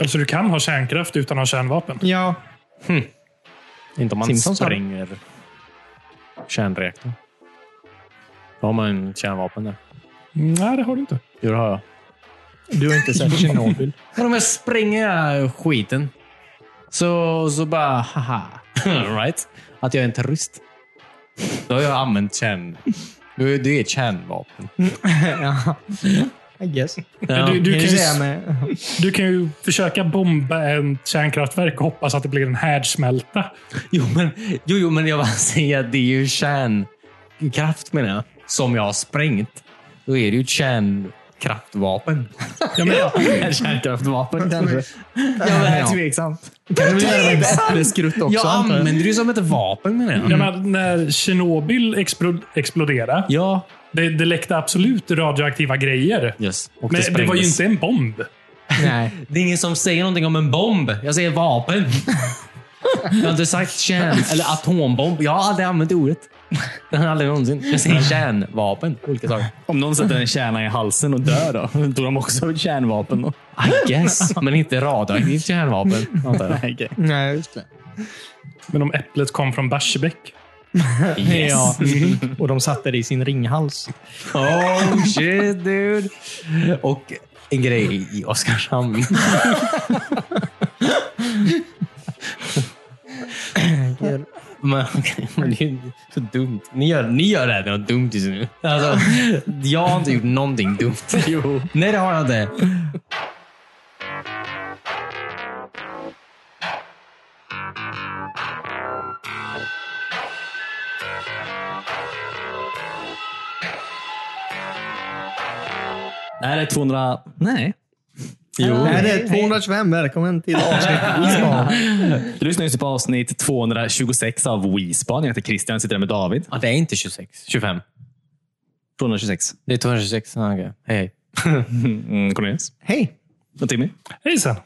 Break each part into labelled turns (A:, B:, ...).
A: Alltså du kan ha kärnkraft utan att ha kärnvapen.
B: Ja,
C: Inte om man
B: Simpsons har-
C: spränger kärnreaktorn. Då har man en kärnvapen där.
A: Nej, det har du inte.
C: Jo, det har jag.
B: du har inte sett Tjernobyl.
C: Men om jag spränger den här skiten så, så bara haha. right? Att jag är en terrorist. Då har jag använt kärn... Då är Det är ett kärnvapen.
B: ja, I guess.
A: Du, du,
B: Det
A: kan
B: är
A: ju,
B: det där med...
A: du kan ju försöka bomba ett kärnkraftverk och hoppas att det blir en härdsmälta.
C: Jo, men, jo, jo, men jag bara säger att det är ju kärnkraft menar jag. Som jag har sprängt. Då är det ju ett kärnkraftvapen.
A: Ja, men,
C: Ett kärnkraftvapen kanske.
B: Ja, men,
C: ja.
B: Tveksamt. Kan du göra med äppleskrutt också?
C: Jag
B: antar jag? Mm.
C: använder det ju som ett vapen menar jag.
A: jag menar, när Tjernobyl explo- exploderade,
C: Ja.
A: det, det läckte absolut radioaktiva grejer.
C: Yes. Och
A: Men det var ju
C: sprängdes.
A: inte en bomb.
B: Nej.
C: Det är ingen som säger någonting om en bomb. Jag säger vapen. Jag har inte sagt kärn eller atombomb. Jag har aldrig använt det ordet. Det har jag aldrig någonsin. Jag säger kärnvapen. på Olika saker.
D: Om någon sätter en kärna i halsen och dör då? Tror de också har ett kärnvapen? då?
C: I guess. Men inte radioaktivt kärnvapen, antar jag.
D: Nej, okej.
B: Nej, just det.
A: Men om äpplet kom från Barsebäck.
C: Yes.
B: Ja. Och de satte det i sin ringhals.
C: Oh shit dude. Och en grej i Oskarshamn. Men, men det är ju så dumt. Ni gör, ni gör det här till något dumt just nu. Alltså, jag har inte gjort någonting dumt.
D: Jo.
C: Nej, det har jag inte.
D: Nej, det är 200... Nej.
B: Jo. Nej, det är 225. Välkommen till avsnitt
D: Du lyssnar just på avsnitt 226 av WeSpan. Jag heter Christian och sitter här med David.
C: Ja, det är inte 26. 25.
D: 226.
C: Det är 226. Ah, okej. Hej, hej.
D: Mm, Cornelius.
B: Hej!
D: Och Timmy.
A: Hejsan!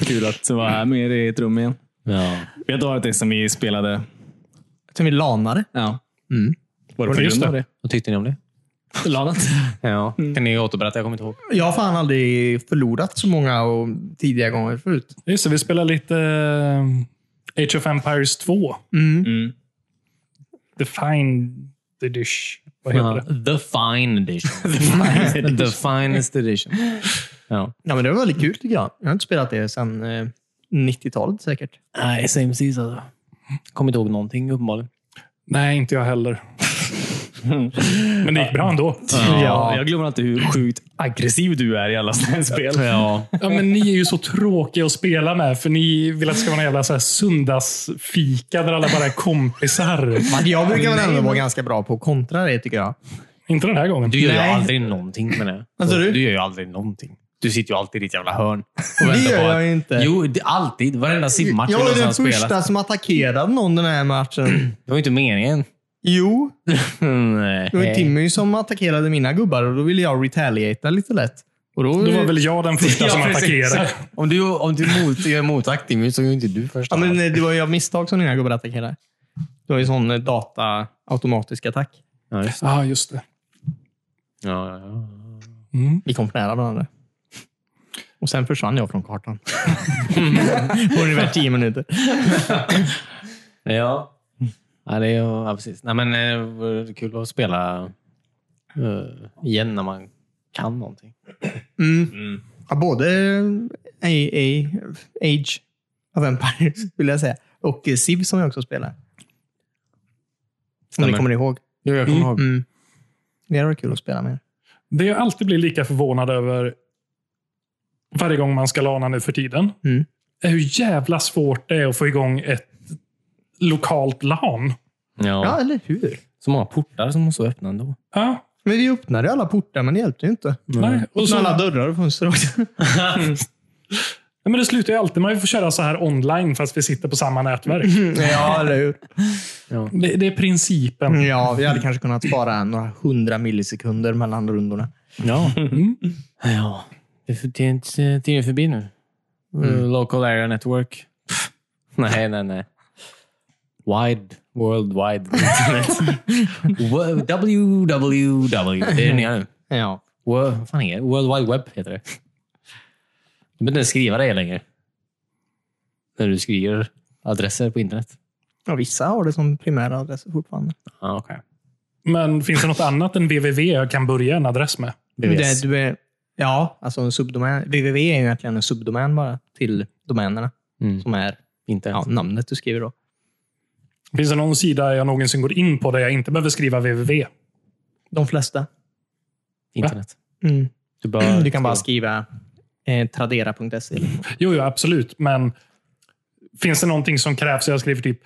D: Kul att vara här med er i ett rum igen.
C: Ja.
D: Vi har inte varit det som vi spelade.
B: Som vi lanade.
D: Ja.
C: Mm.
D: Var
A: Var
D: det
A: det
D: på
A: just
D: grund av
A: det?
D: det?
C: Vad tyckte ni om det?
D: Lanat.
C: Ja. Kan ni återberätta? Jag kommer inte ihåg.
B: Jag har fan aldrig förlorat så många och tidiga gånger förut.
A: Just det, vi spelar lite eh, Age of Empires 2.
D: Mm.
A: The Fine Dish. Vad heter
C: Ja,
A: det?
C: The Fine Edition. The Finest Edition. Ja.
B: Ja, men det var väldigt kul tycker jag. Jag har inte spelat det sedan eh, 90-talet säkert.
C: Nej, same precis alltså. Kommer inte ihåg någonting uppenbarligen.
A: Nej, inte jag heller. Men det gick bra ändå.
D: Ja, jag glömmer alltid hur sjukt aggressiv du är i alla sådana här spel.
C: Ja.
A: Ja, men ni är ju så tråkiga att spela med, för ni vill att det ska vara en jävla så här söndagsfika där alla bara är kompisar.
B: Men jag brukar väl ändå vara ganska bra på att kontra det tycker jag.
A: Inte den här gången.
C: Du gör
B: Nej.
C: ju aldrig någonting med det.
B: Vad sa du?
C: gör ju aldrig någonting. Du sitter ju alltid i ditt jävla hörn. Och
B: Det
C: väntar
B: gör
C: på
B: jag
C: att-
B: inte.
C: Jo, det, alltid. Varenda simmatch
B: jag var
C: eller
B: den
C: så
B: första
C: spelas.
B: som attackerade någon den här matchen.
C: Det var ju inte meningen.
B: Jo,
C: Nej.
B: det var ju Timmy som attackerade mina gubbar och då ville jag retaliata lite lätt. Och då,
A: Då var väl jag den första
C: Ja,
A: som
C: precis.
A: attackerade.
C: Om du, om du mot, gör motaktiv nu så gör ju inte du första.
B: ja, men det var ju av misstag som dina gubbar attackerade. Det var ju sån eh, data automatisk attack.
C: ja, just.
A: Ja, ah, just det.
C: Ja, ja, ja.
A: Mm.
B: Vi kom för nära varandra. Och sen försvann jag från kartan. På ungefär tio minuter.
C: Ja. Ja, det är, ja precis. Nej, men, eh, det är kul att spela eh, igen när man kan någonting.
B: Mm. Ja, både eh, A, A, Age of Empires, vill jag säga, och eh, Civ som jag också spelar. Om ni
C: Stämmer.
B: kommer ihåg.
C: Jo, jag kommer ihåg.
B: Mm. Det hade varit kul att spela med.
A: Det jag alltid blir lika förvånad över varje gång man ska lana nu för tiden,
B: Mm.
A: är hur jävla svårt det är att få igång ett lokalt LAN.
C: Ja.
B: Ja, eller hur?
C: Så många portar som måste vara öppna ändå.
A: Ja,
B: Men vi öppnade ju alla portar, men det hjälpte ju inte.
C: Mm.
A: nej. Och
B: Och så
A: så,
B: alla dörrar och fönster också.
A: nej, men det slutar ju alltid med att vi får köra så här online fast vi sitter på samma nätverk.
B: Mhm. ja, eller hur?
A: Det, det är principen.
B: Ja, vi hade kanske kunnat spara några hundra millisekunder mellan rundorna.
C: Ja.
A: Mm.
C: ja. Det är för- det är inte tiden förbi nu. Eh, Local Area Network. Pff. Nej, nej, nej. Wide. World Wide Internet. Wo- WWW. Det är det nya nu.
B: Ja.
C: Wo- Vad fan är det? World Wide Web heter det. Du behöver inte ens skriva det längre. när du skriver adresser på internet?
B: Ja, vissa har det som primära adress fortfarande.
C: Ah, okay.
A: Men finns det något annat än www jag kan börja en adress med?
B: Det, du är, ja, alltså en subdomän. www är ju egentligen en subdomän bara till domänerna
C: Mm.
B: som är
C: Inte
B: ja,
C: ens.
B: namnet du skriver då.
A: Finns det någon sida jag någonsin går in på där jag inte behöver skriva www?
B: De flesta.
C: Internet.
B: Mm.
C: Du, bör
B: Du kan bara skriva eh, tradera.se. eller något.
A: Jo, jo, absolut. Men finns det någonting som krävs? Jag skriver typ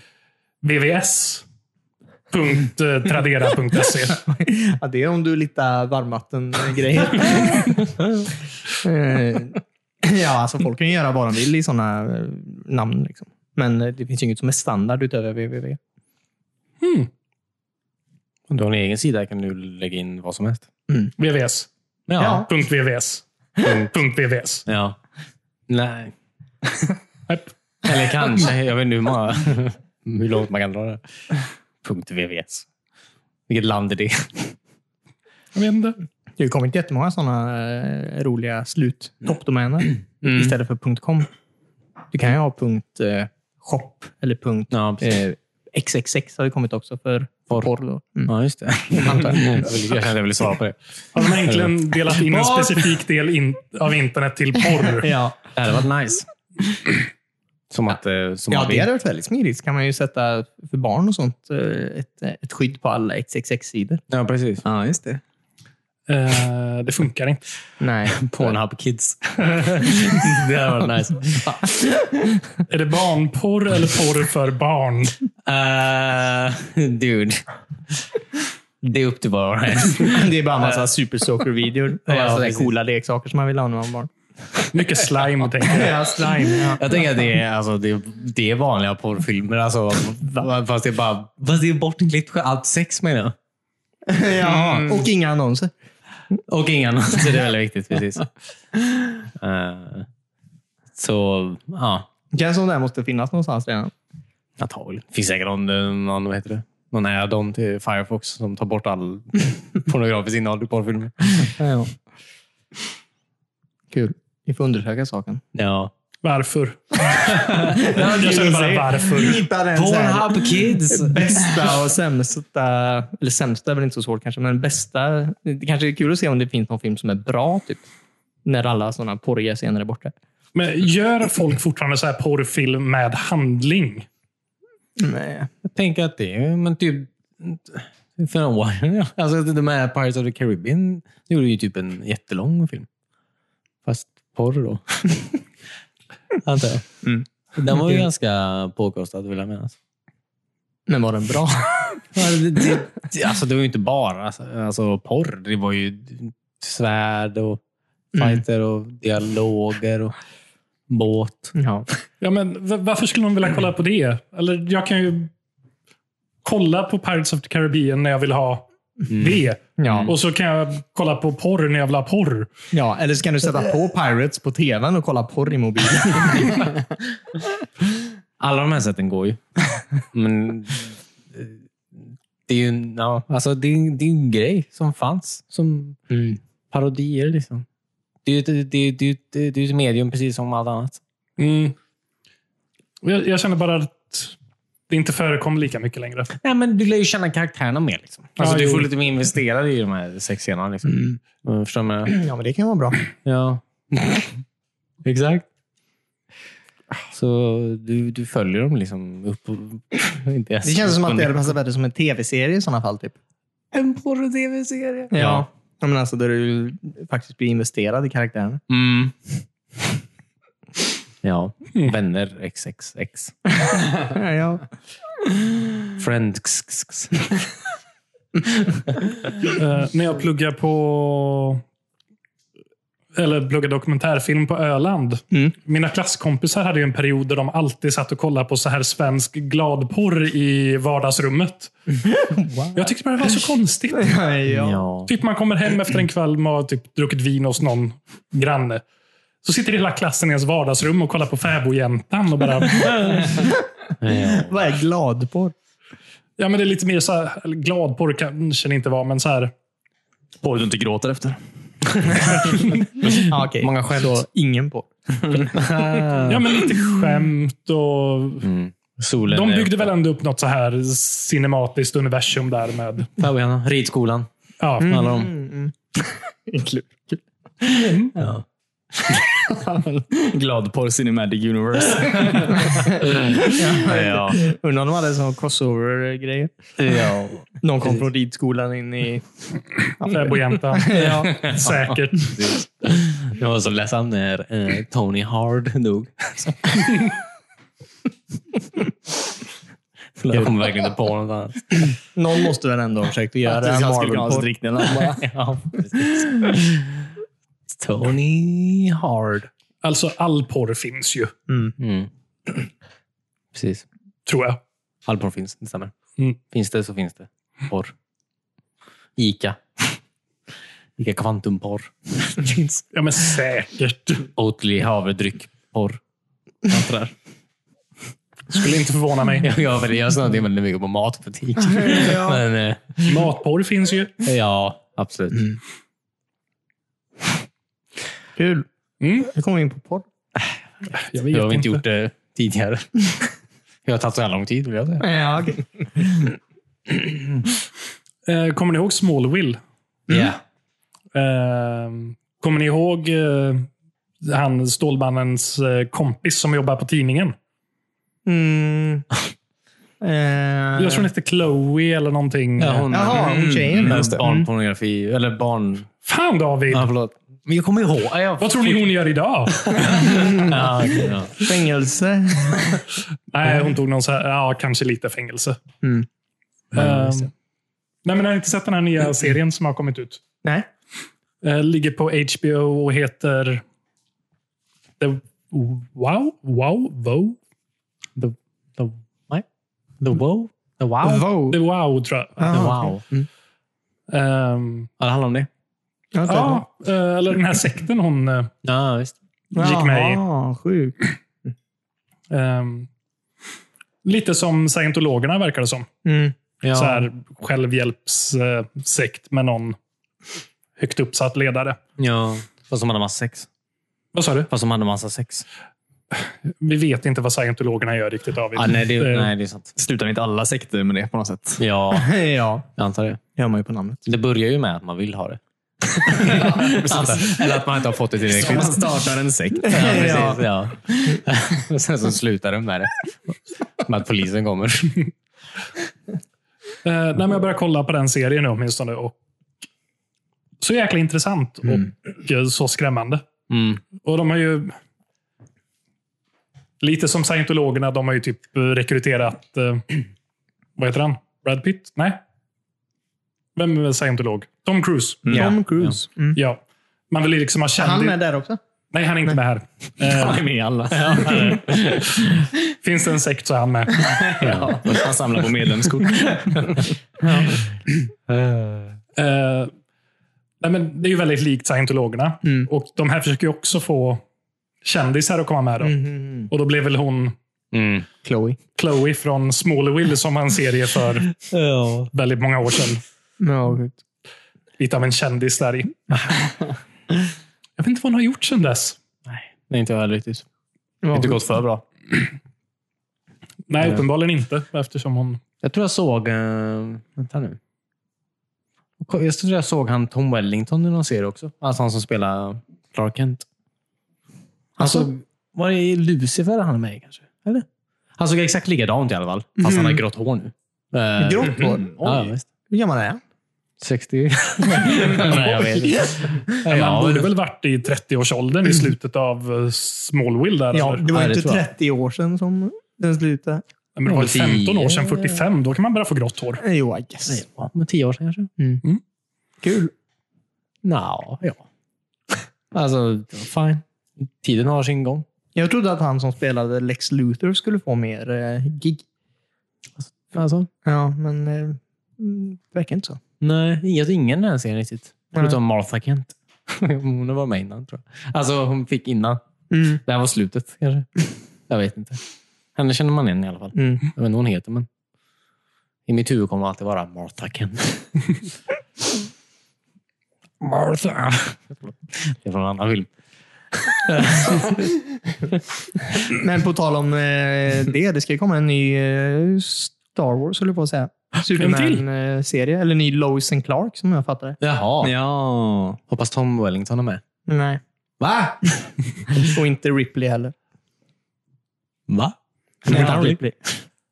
A: eh, www.tradera.se.
B: ja, det är om du litar varmvattengrejer. Eh, ja, alltså folk kan ju göra vad de vill i sådana namn. Liksom. Men eh, det finns ju inget som är standard utöver www.
C: Om du har en egen sida kan du lägga in vad som helst.
A: VVS.
B: Ja.
A: Punkt VVS. Punkt VVS.
C: ja. Nej.
A: Nej.
C: Eller kanske. Jag vet inte hur, många, hur långt man kan dra det. Punkt VVS. Vilket land är det?
A: Jag vet inte.
B: Det har ju kommit jättemånga sådana eh, roliga slut toppdomäner
C: Mm.
B: istället för .com. Du kan ju ha punkt, eh, .shop eller punkt,
C: Ja, precis.
B: eh, .xxx har ju kommit också för porr.
C: Porr.
B: då. Mm.
C: Ja, just det.
B: Antar jag.
C: Jag vill- jag kände jag ville svara på det.
A: Har de egentligen delat in en
B: Porr.
A: specifik del in, av internet till porr?
B: Ja,
C: Det hade varit nice. Som att... eh, Som
B: ja
C: man
B: det
C: vill.
B: hade varit väldigt smidigt. kan man ju sätta för barn och sånt eh, ett, ett skydd på alla xxx-sidor.
C: Ja, precis.
D: Ja, just det.
A: Eh, det funkar inte.
B: Nej.
C: Pornhub Kids. det hade varit nice.
A: Är det barnporr eller porr för barn?
C: Eh, dude. Det är upp till var och en.
B: det är bara en massa super videor och
C: Ja,
B: ja,
C: precis.
B: coola leksaker som man vill ha när man var barn.
A: Mycket slime, tänker jag.
B: Ja, slime. Ja.
C: Jag tänker att det är, alltså, det, det är vanliga porrfilmer. Alltså, fast det är bara fast det är bortklippt själv- allt sex menar jag.
B: ja. Och inga annonser.
C: Och inga annonser. Det är väldigt viktigt. Precis. Eh, så, ja.
B: Känns som det här måste finnas någonstans redan.
C: Antagligen. Det finns säkert någon, eh, någon, vad heter det? någon add-on till Firefox som tar bort all pornografiskt innehåll i porrfilmer.
B: Ja. Kul. Vi får undersöka saken.
C: Ja.
A: Varför? Jag känner bara varför.
B: Hitta den så här
C: Pornhub Kids!
B: bästa och sämsta, eller sämsta är väl inte så svårt kanske, men bästa. Det kanske är kul att se om det finns någon film som är bra, typ. När alla sådana porriga scener är borta.
A: Men gör folk fortfarande så här porrfilm med handling?
B: Nej.
C: Jag tänker att det är men typ... För några år sedan, ja. Alltså de här Pirates of the Caribbean gjorde ju typ en jättelång film. Fast porr då. Antar jag. Den var ju ganska påkostad vill jag minnas.
B: Men var den bra?
C: Ja, det- det- det- Alltså det var ju inte bara alltså, alltså, porr. Det var ju svärd och fighter och dialoger och båt.
B: ja.
A: Ja, men v- varför skulle någon vilja kolla på det? Eller jag kan ju kolla på Pirates of the Caribbean när jag vill ha det.
B: Ja.
A: Och så kan jag kolla på porr när jag vill ha porr.
B: ja. Eller så kan du sätta på Pirates på tvn och kolla porr i mobilen.
C: Alla de här sätten går ju. Men eh, det är ju ja, alltså det är, det är en grej som fanns som
B: Mm.
C: parodier. liksom. Det är ju ett, det är, det är, det är, det är ett medium precis som allt annat.
A: Och Mm. Jag, jag känner bara att det inte förekommer lika mycket längre.
C: Nej, men du lär ju känna karaktärerna mer. Liksom. Alltså,
A: Ja,
C: du
A: jo.
C: får lite mer investerad i de här sexscenerna. Liksom. Mm, Förstår du vad jag menar?
B: Ja, men det kan vara bra.
C: Ja. Exakt. Så du, du följer dem liksom upp och, inte ens
B: Det känns som
C: upp och
B: att det
C: ner.
B: hade passat bättre som en tv-serie i sådana fall. Typ.
C: en porr-tv-serie.
B: Ja. ja men alltså, där du faktiskt blir investerad i karaktären.
C: Mm. Ja. Vänner XXX.
B: Ja.
C: Friends. x, x.
A: Eh, när jag pluggar på eller pluggar dokumentärfilm på Öland.
B: Mm.
A: Mina klasskompisar hade ju en period där de alltid satt och kollade på så här svensk gladporr i vardagsrummet. Jag tyckte bara det var så konstigt.
B: ja.
C: Ja.
A: Typ man kommer hem efter en kväll och har typ druckit vin hos någon granne. Så sitter hela klassen i ens vardagsrum och kollar på fäbodjäntan och bara
C: ja.
B: Vad är gladporr?
A: Ja, men det är lite mer så här, eller glad porr kanske det inte var, men så här.
D: Porr du inte gråter efter.
B: Ah, okej.
C: Många skämt.
B: Så ingen på.
A: Ja, men lite skämt och...
C: Solen
A: De
C: är
A: byggde
C: uppe.
A: väl ändå upp något så här cinematiskt universum där med...
C: Färgerna. Ridskolan.
A: Ja,
C: Alla de.
A: Mm.
B: Mm.
D: Gladporr Cinematic Universe. ja.
B: Undrar om de hade sån crossover-grejer.
D: ja.
B: Någon kom från ridskolan in i...
A: fäbodjäntan.
B: Ja.
A: Säkert.
C: Det var så ledsamt när eh, Tony Hard dog. Jag kommer verkligen inte på något annat.
B: Någon måste väl ändå ha försökt att göra en
D: Jag skulle kunna ha
B: Marvel-porr.
D: strikt den här.
C: Ja, precis. Tony Hard.
A: Alltså, all porr finns ju,
C: Mm. Precis.
A: tror jag.
C: All porr finns, det stämmer.
A: Mm.
C: Finns det så finns det. Porr. Ica. Ica Kvantumporr.
A: Ja, men säkert.
C: Oatly havredryck. Porr.
A: Skulle inte förvåna mig.
C: Jag, jag, jag snöade in väldigt mycket på matbutik. Men, eh,
A: Matporr finns ju.
C: ja, absolut.
A: Mm.
B: Kul.
A: Mm.
B: Nu kommer vi in på porr.
A: Jag
C: Jag har
A: vet
C: inte
A: inte.
C: gjort det tidigare. Jag har tagit så här lång tid, vill jag
A: Mm.
C: säga.
B: Ja, okej.
A: Eh, Kommer ni ihåg Smallville?
C: Ja.
A: Eh, Kommer ni ihåg eh, han Stålmannens eh, kompis som jobbar på tidningen?
B: Mm. Eh,
A: Jag tror hon hette Chloe eller någonting.
C: Ja, hon,
B: Jaha, hon tjejen.
C: Mm,
B: Just det.
C: barnpornografi, eller barn...
A: Fan David!
C: Ja, förlåt. Men jag kommer ihåg. Ja, jag,
A: Vad tror ni hon gör idag?
C: Ja, okej, ja.
B: Fängelse.
A: Nej, hon tog någon så här, ja, kanske lite fängelse.
B: Mm.
A: Ehm, nej, men har ni inte sett den här nya serien som har kommit ut?
B: Nej.
A: Eh, ligger på HBO och heter... The Wow? Wow? Wow?
C: The wow. The wow.
B: Wow.
A: The Wow, Mm. tror jag.
C: The
B: Ah,
C: wow.
A: Ehm,
C: Ja, det handlar om det.
B: jag har inte hört
A: ja, eh, eller den här sekten hon... eh,
C: Ja, visst.
B: det.
A: gick med i.
B: Jaha, sjukt.
A: ehm, lite som scientologerna verkar det som.
B: Mm.
C: Ja.
A: Så här, självhjälpssekt med någon högt uppsatt ledare.
C: Ja. Fast de hade massa sex.
A: Vad sa du?
C: Fast de hade massa sex.
A: Vi vet inte vad scientologerna gör riktigt, David.
C: Ah, nej, det,
A: Eh,
C: nej, det är sant.
D: Slutar inte alla sekter med det på något sätt?
C: Ja,
B: ja,
C: jag antar det.
B: det hör man ju på namnet.
C: Det börjar ju med att man vill ha det. Antar- Eller att man inte har fått det
D: Så Alltså, man
C: tillräckligt.
D: startar en sekt.
C: Ja,
B: Ja.
C: precis, ja. Och Sen så slutar de med det. Med att polisen kommer.
A: Eh, nej, men jag börjar kolla på den serien nu åtminstone. Och så jäkla intressant och eh, så skrämmande.
C: Mm.
A: Och de har ju... Lite som scientologerna, de har ju typ eh, rekryterat... Eh, vad heter han? Brad Pitt? Nej. Vem är scientolog? Tom Cruise.
B: Tom Cruise. Mm.
A: Ja. Man vill ju liksom ha kändis...
B: Han med där också?
A: Nej, han är inte med här. Eh,
D: Han är med i alla.
A: finns det en sekt så är han med.
D: Ja. Han samlar på medlemskort.
A: Eh, nej men det är ju väldigt likt scientologerna. Och de här försöker ju också få kändisar att komma med. Då.
B: Mm.
A: Och då blev väl hon
C: Mm.
B: Mm-hmm. Chloe.
A: Chloe från Smallville som var en serie för
B: Ja.
A: väldigt många år sedan.
B: Ja, sjukt.
A: Lite av en kändis där i. Jag vet inte vad hon har gjort sedan dess.
C: Nej, inte jag heller riktigt.
B: Ja,
C: Inte
B: sjukt.
C: gått för bra.
A: Nej, uppenbarligen inte. Eftersom hon...
C: Jag tror jag såg... eh, vänta nu. Jag tror jag såg han Tom Wellington i någon serie också. Alltså han som spelar Clark Kent. Alltså, var det i Lucifer han är med i kanske? Eller? Mm. Han såg exakt likadant i alla fall. Fast han har grått hår nu. Eh,
B: Grått hår?
C: Ja,
B: Oj.
C: visst.
B: Hur gammal är han?
C: 60? Nej, jag vet inte.
A: Ja, han
C: Ja,
A: borde väl varit i 30-årsåldern i slutet av eh, Smallville. Där,
B: Ja,
A: eller?
B: det var
C: Ja, det
B: inte
C: tror jag.
B: 30 år sedan som den slutade.
A: Nej, men det var väl 15 år sedan,
C: tio.
A: 45. Då kan man börja få grått hår.
B: Eh, Jo, I guess.
C: ja, men tio år sedan kanske?
B: Kul.
C: Nja, ja. Alltså, fine. Tiden har sin gång.
B: Jag trodde att han som spelade Lex Luthor skulle få mer eh, gig.
C: Alltså,
B: Ja, men eh, mm, det verkar inte så.
C: nej, jag ingen i den serien riktigt.
B: Nej.
C: Förutom Martha Kent. Hon var med innan, tror jag. Alltså, hon fick innan.
B: Mm.
C: Det här var slutet, kanske. Jag vet inte. Henne känner man igen i alla fall.
B: Mm.
C: Jag vet inte vad hon heter, men i mitt huvud kommer hon alltid vara Martha Kent.
A: Martha.
C: Det är från en annan film.
B: Men på tal om eh, det, det ska ju komma en ny eh, Star Wars, höll jag på att säga. Superman-serie, eller ny Lois and Clark som jag fattar det.
C: Jaha.
D: Ja.
C: Hoppas Tom Wellington är med.
B: Nej.
C: Va?
B: Och inte Ripley heller.
C: Va?
B: Nej, han Ripley.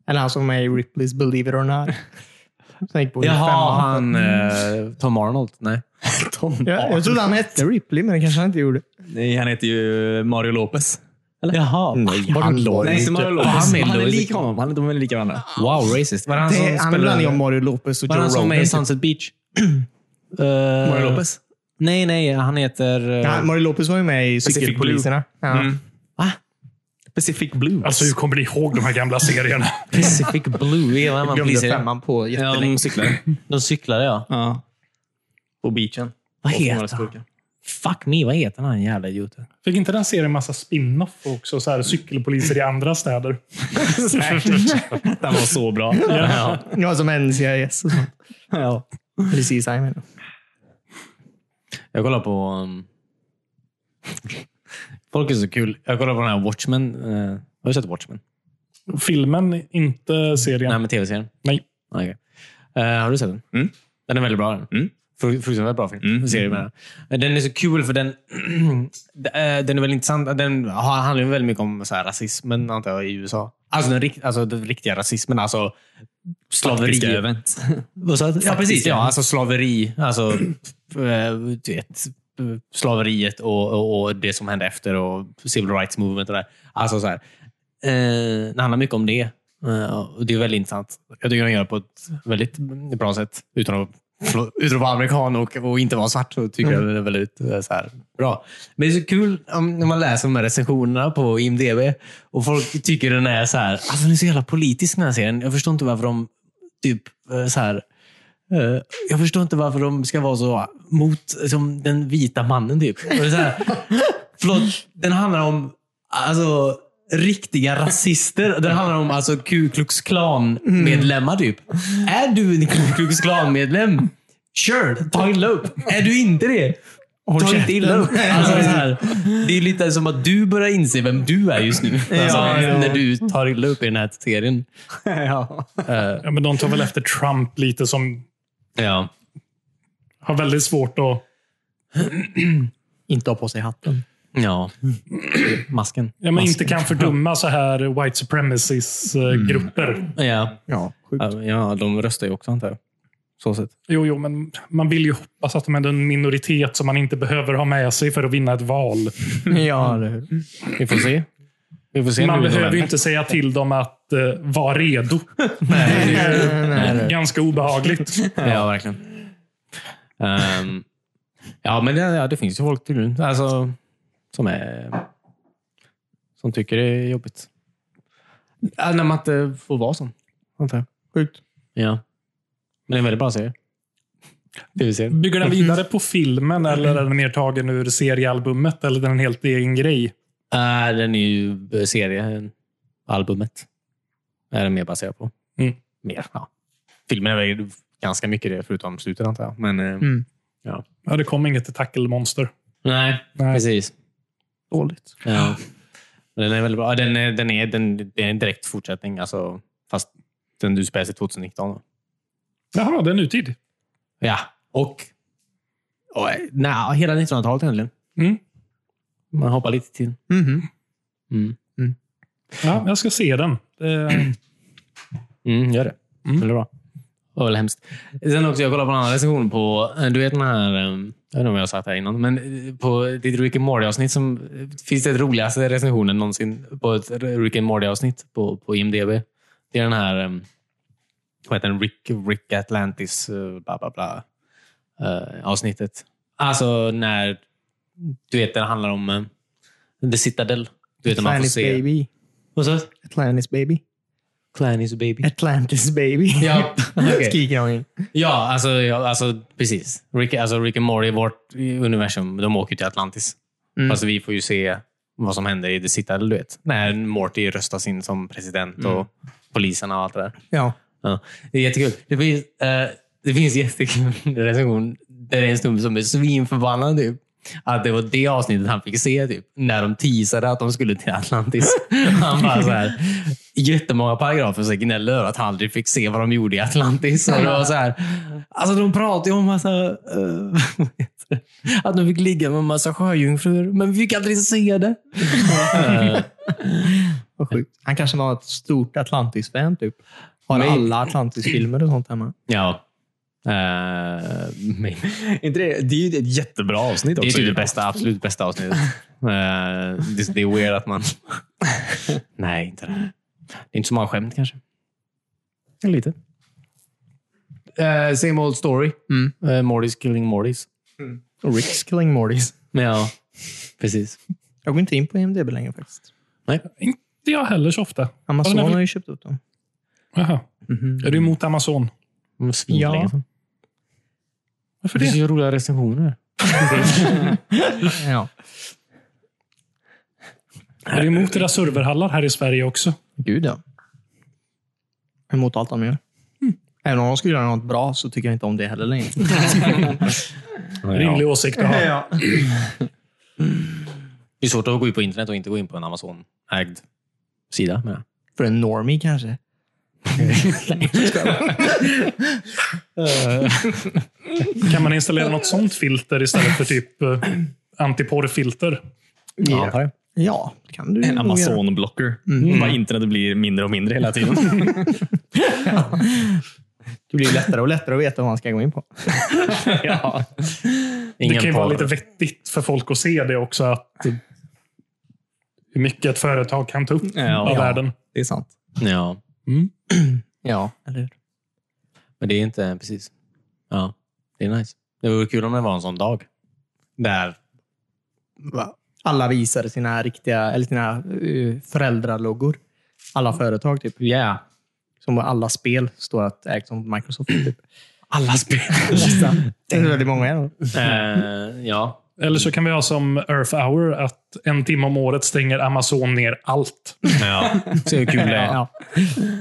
B: Eller han som är i Ripleys Believe It or Not. Som gick på
C: Jaha,
B: femman.
C: han...
D: Mm.
C: eh, Tom Arnold? Nej.
D: Tom
B: Ja, jag trodde han hette Ripley, men det kanske han inte gjorde.
C: eh,
D: Nej, han heter ju Mario Lopez.
C: Jaha.
B: Nej, han var
D: Nej, inte Mario Lopez.
C: Han är
D: Han är
C: Louis-
D: lik honom. Han är, de är lika varandra.
C: Wow, racist. Var det han som
B: Det, han blandade ju
C: spelade...
B: om Mario Lopez och
C: Var det
B: Joe
C: han som
B: Rogan.
C: är i
B: typ.
C: Sunset Beach? Eh,
D: Mario Lopez.
C: Nej, nej. Han heter... eh,
B: Ja, Mario Lopez var ju med i
D: Pacific
B: Cykelpoliserna. Ja.
D: Mm. Pacific Blues.
A: Alltså, hur kommer ni ihåg de här gamla serierna?
C: Pacific Blue. Vilken annan
B: Glömde
C: polis är det?
B: femman på
D: ja,
B: jättelänge.
D: de cyklar.
C: De cyklade, ja.
D: ja. På beachen.
C: Vad
D: Och får några
C: heter han?
D: skurkar.
C: Fuck me, vad heter han jävla idioten?
A: Fick inte den serien massa spin-off också? Så här, cykelpoliser i andra städer.
D: Den var så bra.
C: Ja.
B: Ja, som NCIS och sånt.
D: ja.
B: Eller CSI menar jag.
C: Jag kollar på... Um... Folk är så kul. Jag kollar på den här Watchmen. eh, Har du sett Watchmen?
A: Filmen, inte serien.
C: Nej, men tv-serien.
A: Nej.
C: Ah, okej. Eh, har du sett den?
D: Mm.
C: Den är väldigt bra. Den.
D: Mm.
C: Fru- Fruktansvärt bra film.
D: Mm.
C: Serie, menar jag. Den är så kul för den, eh, den är väldigt intressant. Den har- handlar ju väldigt mycket om så här, rasismen antar jag, i USA. Alltså den, rikt, alltså den riktiga rasismen. Alltså
D: Faktiska
C: slaveri.
D: event.
C: Ja, precis. Ja, alltså slaveri. Alltså, eh, du vet, slaveriet och, och, och det som hände efter och civil rights movement och det där. Alltså så här. Eh, det handlar mycket om det. Eh, och det är väldigt intressant. Jag tycker de gör det på ett väldigt bra sätt. Utan att, förlåt, utan att vara amerikan och, och inte vara svart så tycker jag det är väldigt eh, så här, bra. Men det är så kul om, när man läser de här recensionerna på IMDB och folk tycker den är så här, alltså den är så jävla politisk den här serien. Jag förstår inte varför de typ eh, så här, Eh, Jag förstår inte varför de ska vara så mot som den vita mannen. Typ. Och det är så här, förlåt, den handlar om alltså, riktiga rasister. Den handlar om alltså, Ku Klux
B: Mm.
C: Klan-medlemmar. Typ. Är du en Ku Klux Klan-medlem? Sure, ta illa upp. Är du inte det? Ta inte illa upp. Alltså, det, är så här, det är lite som att du börjar inse vem du är just nu. Alltså,
B: Ja, ja.
C: När du tar illa upp i den här serien.
D: ja.
C: Eh,
A: Ja, men de tar väl efter Trump lite, som
C: ja.
A: har väldigt svårt att...
B: Inte ha på sig hatten.
C: ja. Masken.
A: Ja, men inte kan fördöma så här white supremacies-grupper.
B: Mm.
C: Ja.
B: Ja, sjukt.
C: Ja, Ja, de röstar ju också antar jag. Så sett.
A: Jo, jo, men man vill ju hoppas att de är en minoritet som man inte behöver ha med sig för att vinna ett val.
B: Ja, eller hur?
C: Vi får se. Vi får se
A: man
C: nu.
A: behöver ju inte säga till dem att eh, vara redo.
B: Nej, nej, Eh, nej.
A: Ganska obehagligt.
C: Ja, verkligen. Ehm, ja, men det, ja, det finns ju folk tydligen. Alltså, som, är, som tycker det är jobbigt. Ja, när man inte får vara sån. Antar jag.
B: Sjukt.
C: Ja. Men det är en väldigt bra serie. Tv-serien.
A: Bygger den vidare på filmen eller är den mer tagen ur seriealbumet? Eller är den en helt egen grej?
C: Uh, den är ju serien, albumet. Är den mer baserad på.
A: Mm.
C: Mer, ja. Filmen är väl ganska mycket det, förutom slutet antar jag. Men, eh,
A: Mm. Ja, det kom inget tackelmonster.
C: Nej,
A: Nej.
C: precis.
B: Dåligt.
C: Ja. Men Den är väldigt bra. Ja, Den är, den är, den, det är en direkt fortsättning, alltså, fast den du spelar sig 2019. då.
A: Jaha, det är nutid.
C: Ja, och, och eh, nej, hela 1900-talet egentligen.
A: Mm.
C: Man hoppar lite till.
B: Mhm.
C: Mm.
A: Ja, jag ska se den. Eh,
C: Mm, gör det.
A: Mm.
C: Väldigt bra. Det var väl hemskt. Sen också, jag kollade på en annan recension på, eh, du vet den här, eh, jag vet inte om jag har sagt det här innan, men eh, på ditt Rick and Morty-avsnitt som, eh, finns det roligaste recensionen någonsin på ett Rick and Morty-avsnitt på, på IMDB. Det är den här, eh, vad heter den, Rick, Rick Atlantis, eh, bla bla bla, eh, avsnittet. Alltså när, du vet, det handlar om eh, The Citadel. Du vet, när man får
B: Atlantis
C: se...
B: baby.
C: Vad sa du?
B: Atlantis baby.
C: Clanny's baby.
B: Atlantis baby.
C: Ja, okej.
B: Skriker han in.
C: Ja, alltså, ja, alltså precis. Rick, alltså Rick och Morty, vårt universum, de åker till Atlantis.
B: Mm.
C: Fast vi får ju se vad som händer i The Citadel, du vet. När Morty röstas in som president och poliserna och allt det där.
B: Ja.
C: Ja, det är jättekul. Det finns, eh, det finns jättekul recension där är en snubbe som är svinförbannad typ. Att det var det avsnittet han fick se, typ, när de teasade att de skulle till Atlantis. Han bara så här, jättemånga paragrafer så gnäller över att han aldrig fick se vad de gjorde i Atlantis. Och det var så här, alltså de pratade ju om massa, eh, att de fick ligga med en massa sjöjungfrur, men vi fick aldrig se det.
B: Vad sjukt. Han kanske var ett stort Atlantis-fan. Typ. Har
C: Nej.
B: alla Atlantis-filmer och sånt hemma.
C: ja. Eh, men-
D: Inte det, det är ju ett jättebra avsnitt
C: Det är
D: också.
C: typ det bästa, absolut bästa avsnittet. Eh, det, det är weird att man... Nej, inte det. Det är inte så många skämt kanske.
D: Lite.
C: Uh, same old story. Mm. Mortis killing Mortis.
B: Och Ricks killing Mortys.
C: Ja, precis.
B: Jag går inte in på IMDB längre faktiskt.
A: Inte jag heller så ofta.
B: Amazon
A: Har
B: har
A: den-
B: ju köpt upp dem.
A: Jaha. Är du emot Amazon?
C: Mm,
B: Ja.
A: Varför det?
C: ju roliga recensioner.
B: ja.
A: Är du emot deras serverhallar här i Sverige också?
B: Gud ja. Emot allt de gör. Även om de skulle göra något bra så tycker jag inte om det heller längre.
A: Rimlig åsikt att ha.
C: Det är svårt att gå in på internet och inte gå in på en Amazon-ägd sida. Men.
B: För en normie kanske.
A: Kan man installera något sånt filter istället för typ eh, antiporrfilter?
C: Ja, antar jag.
B: Ja, det kan du
D: En
B: nog göra.
D: Amazon-blocker. Bara internet blir mindre och mindre hela tiden. Eh,
B: Det blir lättare och lättare att veta vad man ska gå in på.
A: Det kan ju vara
C: porr.
A: lite vettigt för folk att se det också. Att eh, hur mycket ett företag kan ta upp av
B: Ja.
A: världen.
B: Det är sant.
C: Ja,
B: Ja, eller hur?
C: men det är inte precis. Ja, det är nice. Det vore kul om det var en sån dag. Där
B: Alla visade sina riktiga, eller sina eh, föräldraloggor. Alla företag typ.
C: Yeah.
B: Som alla spel står att ägt som Microsoft. Typ.
C: Alla spel.
B: Det är väldigt många. då.
C: Eh, ja.
A: Eller så kan vi ha som Earth Hour att en timme om året stänger Amazon ner allt.
C: ja. Se hur kul det är.
B: Ja.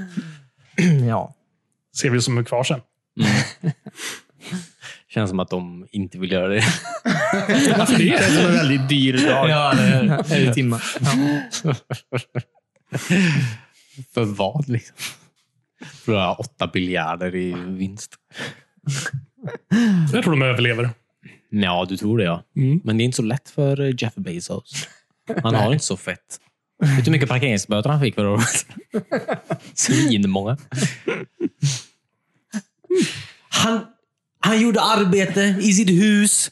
B: ja.
A: Ser vi som är kvar sen.
C: Känns som att de inte vill göra det.
A: Varför det?
B: Det är en väldigt dyr dag.
C: Ja, eller,
B: Eller timme.
C: för vad liksom? För att ha åtta biljarder i vinst.
A: Jag tror de överlever.
C: Ja, du tror det ja.
A: Mm.
C: Men det är inte så lätt för eh, Jeff Bezos. Han har inte så fett. Vet du hur mycket parkeringsböter han fick förra året? Svinmånga. Han, han gjorde arbete i sitt hus.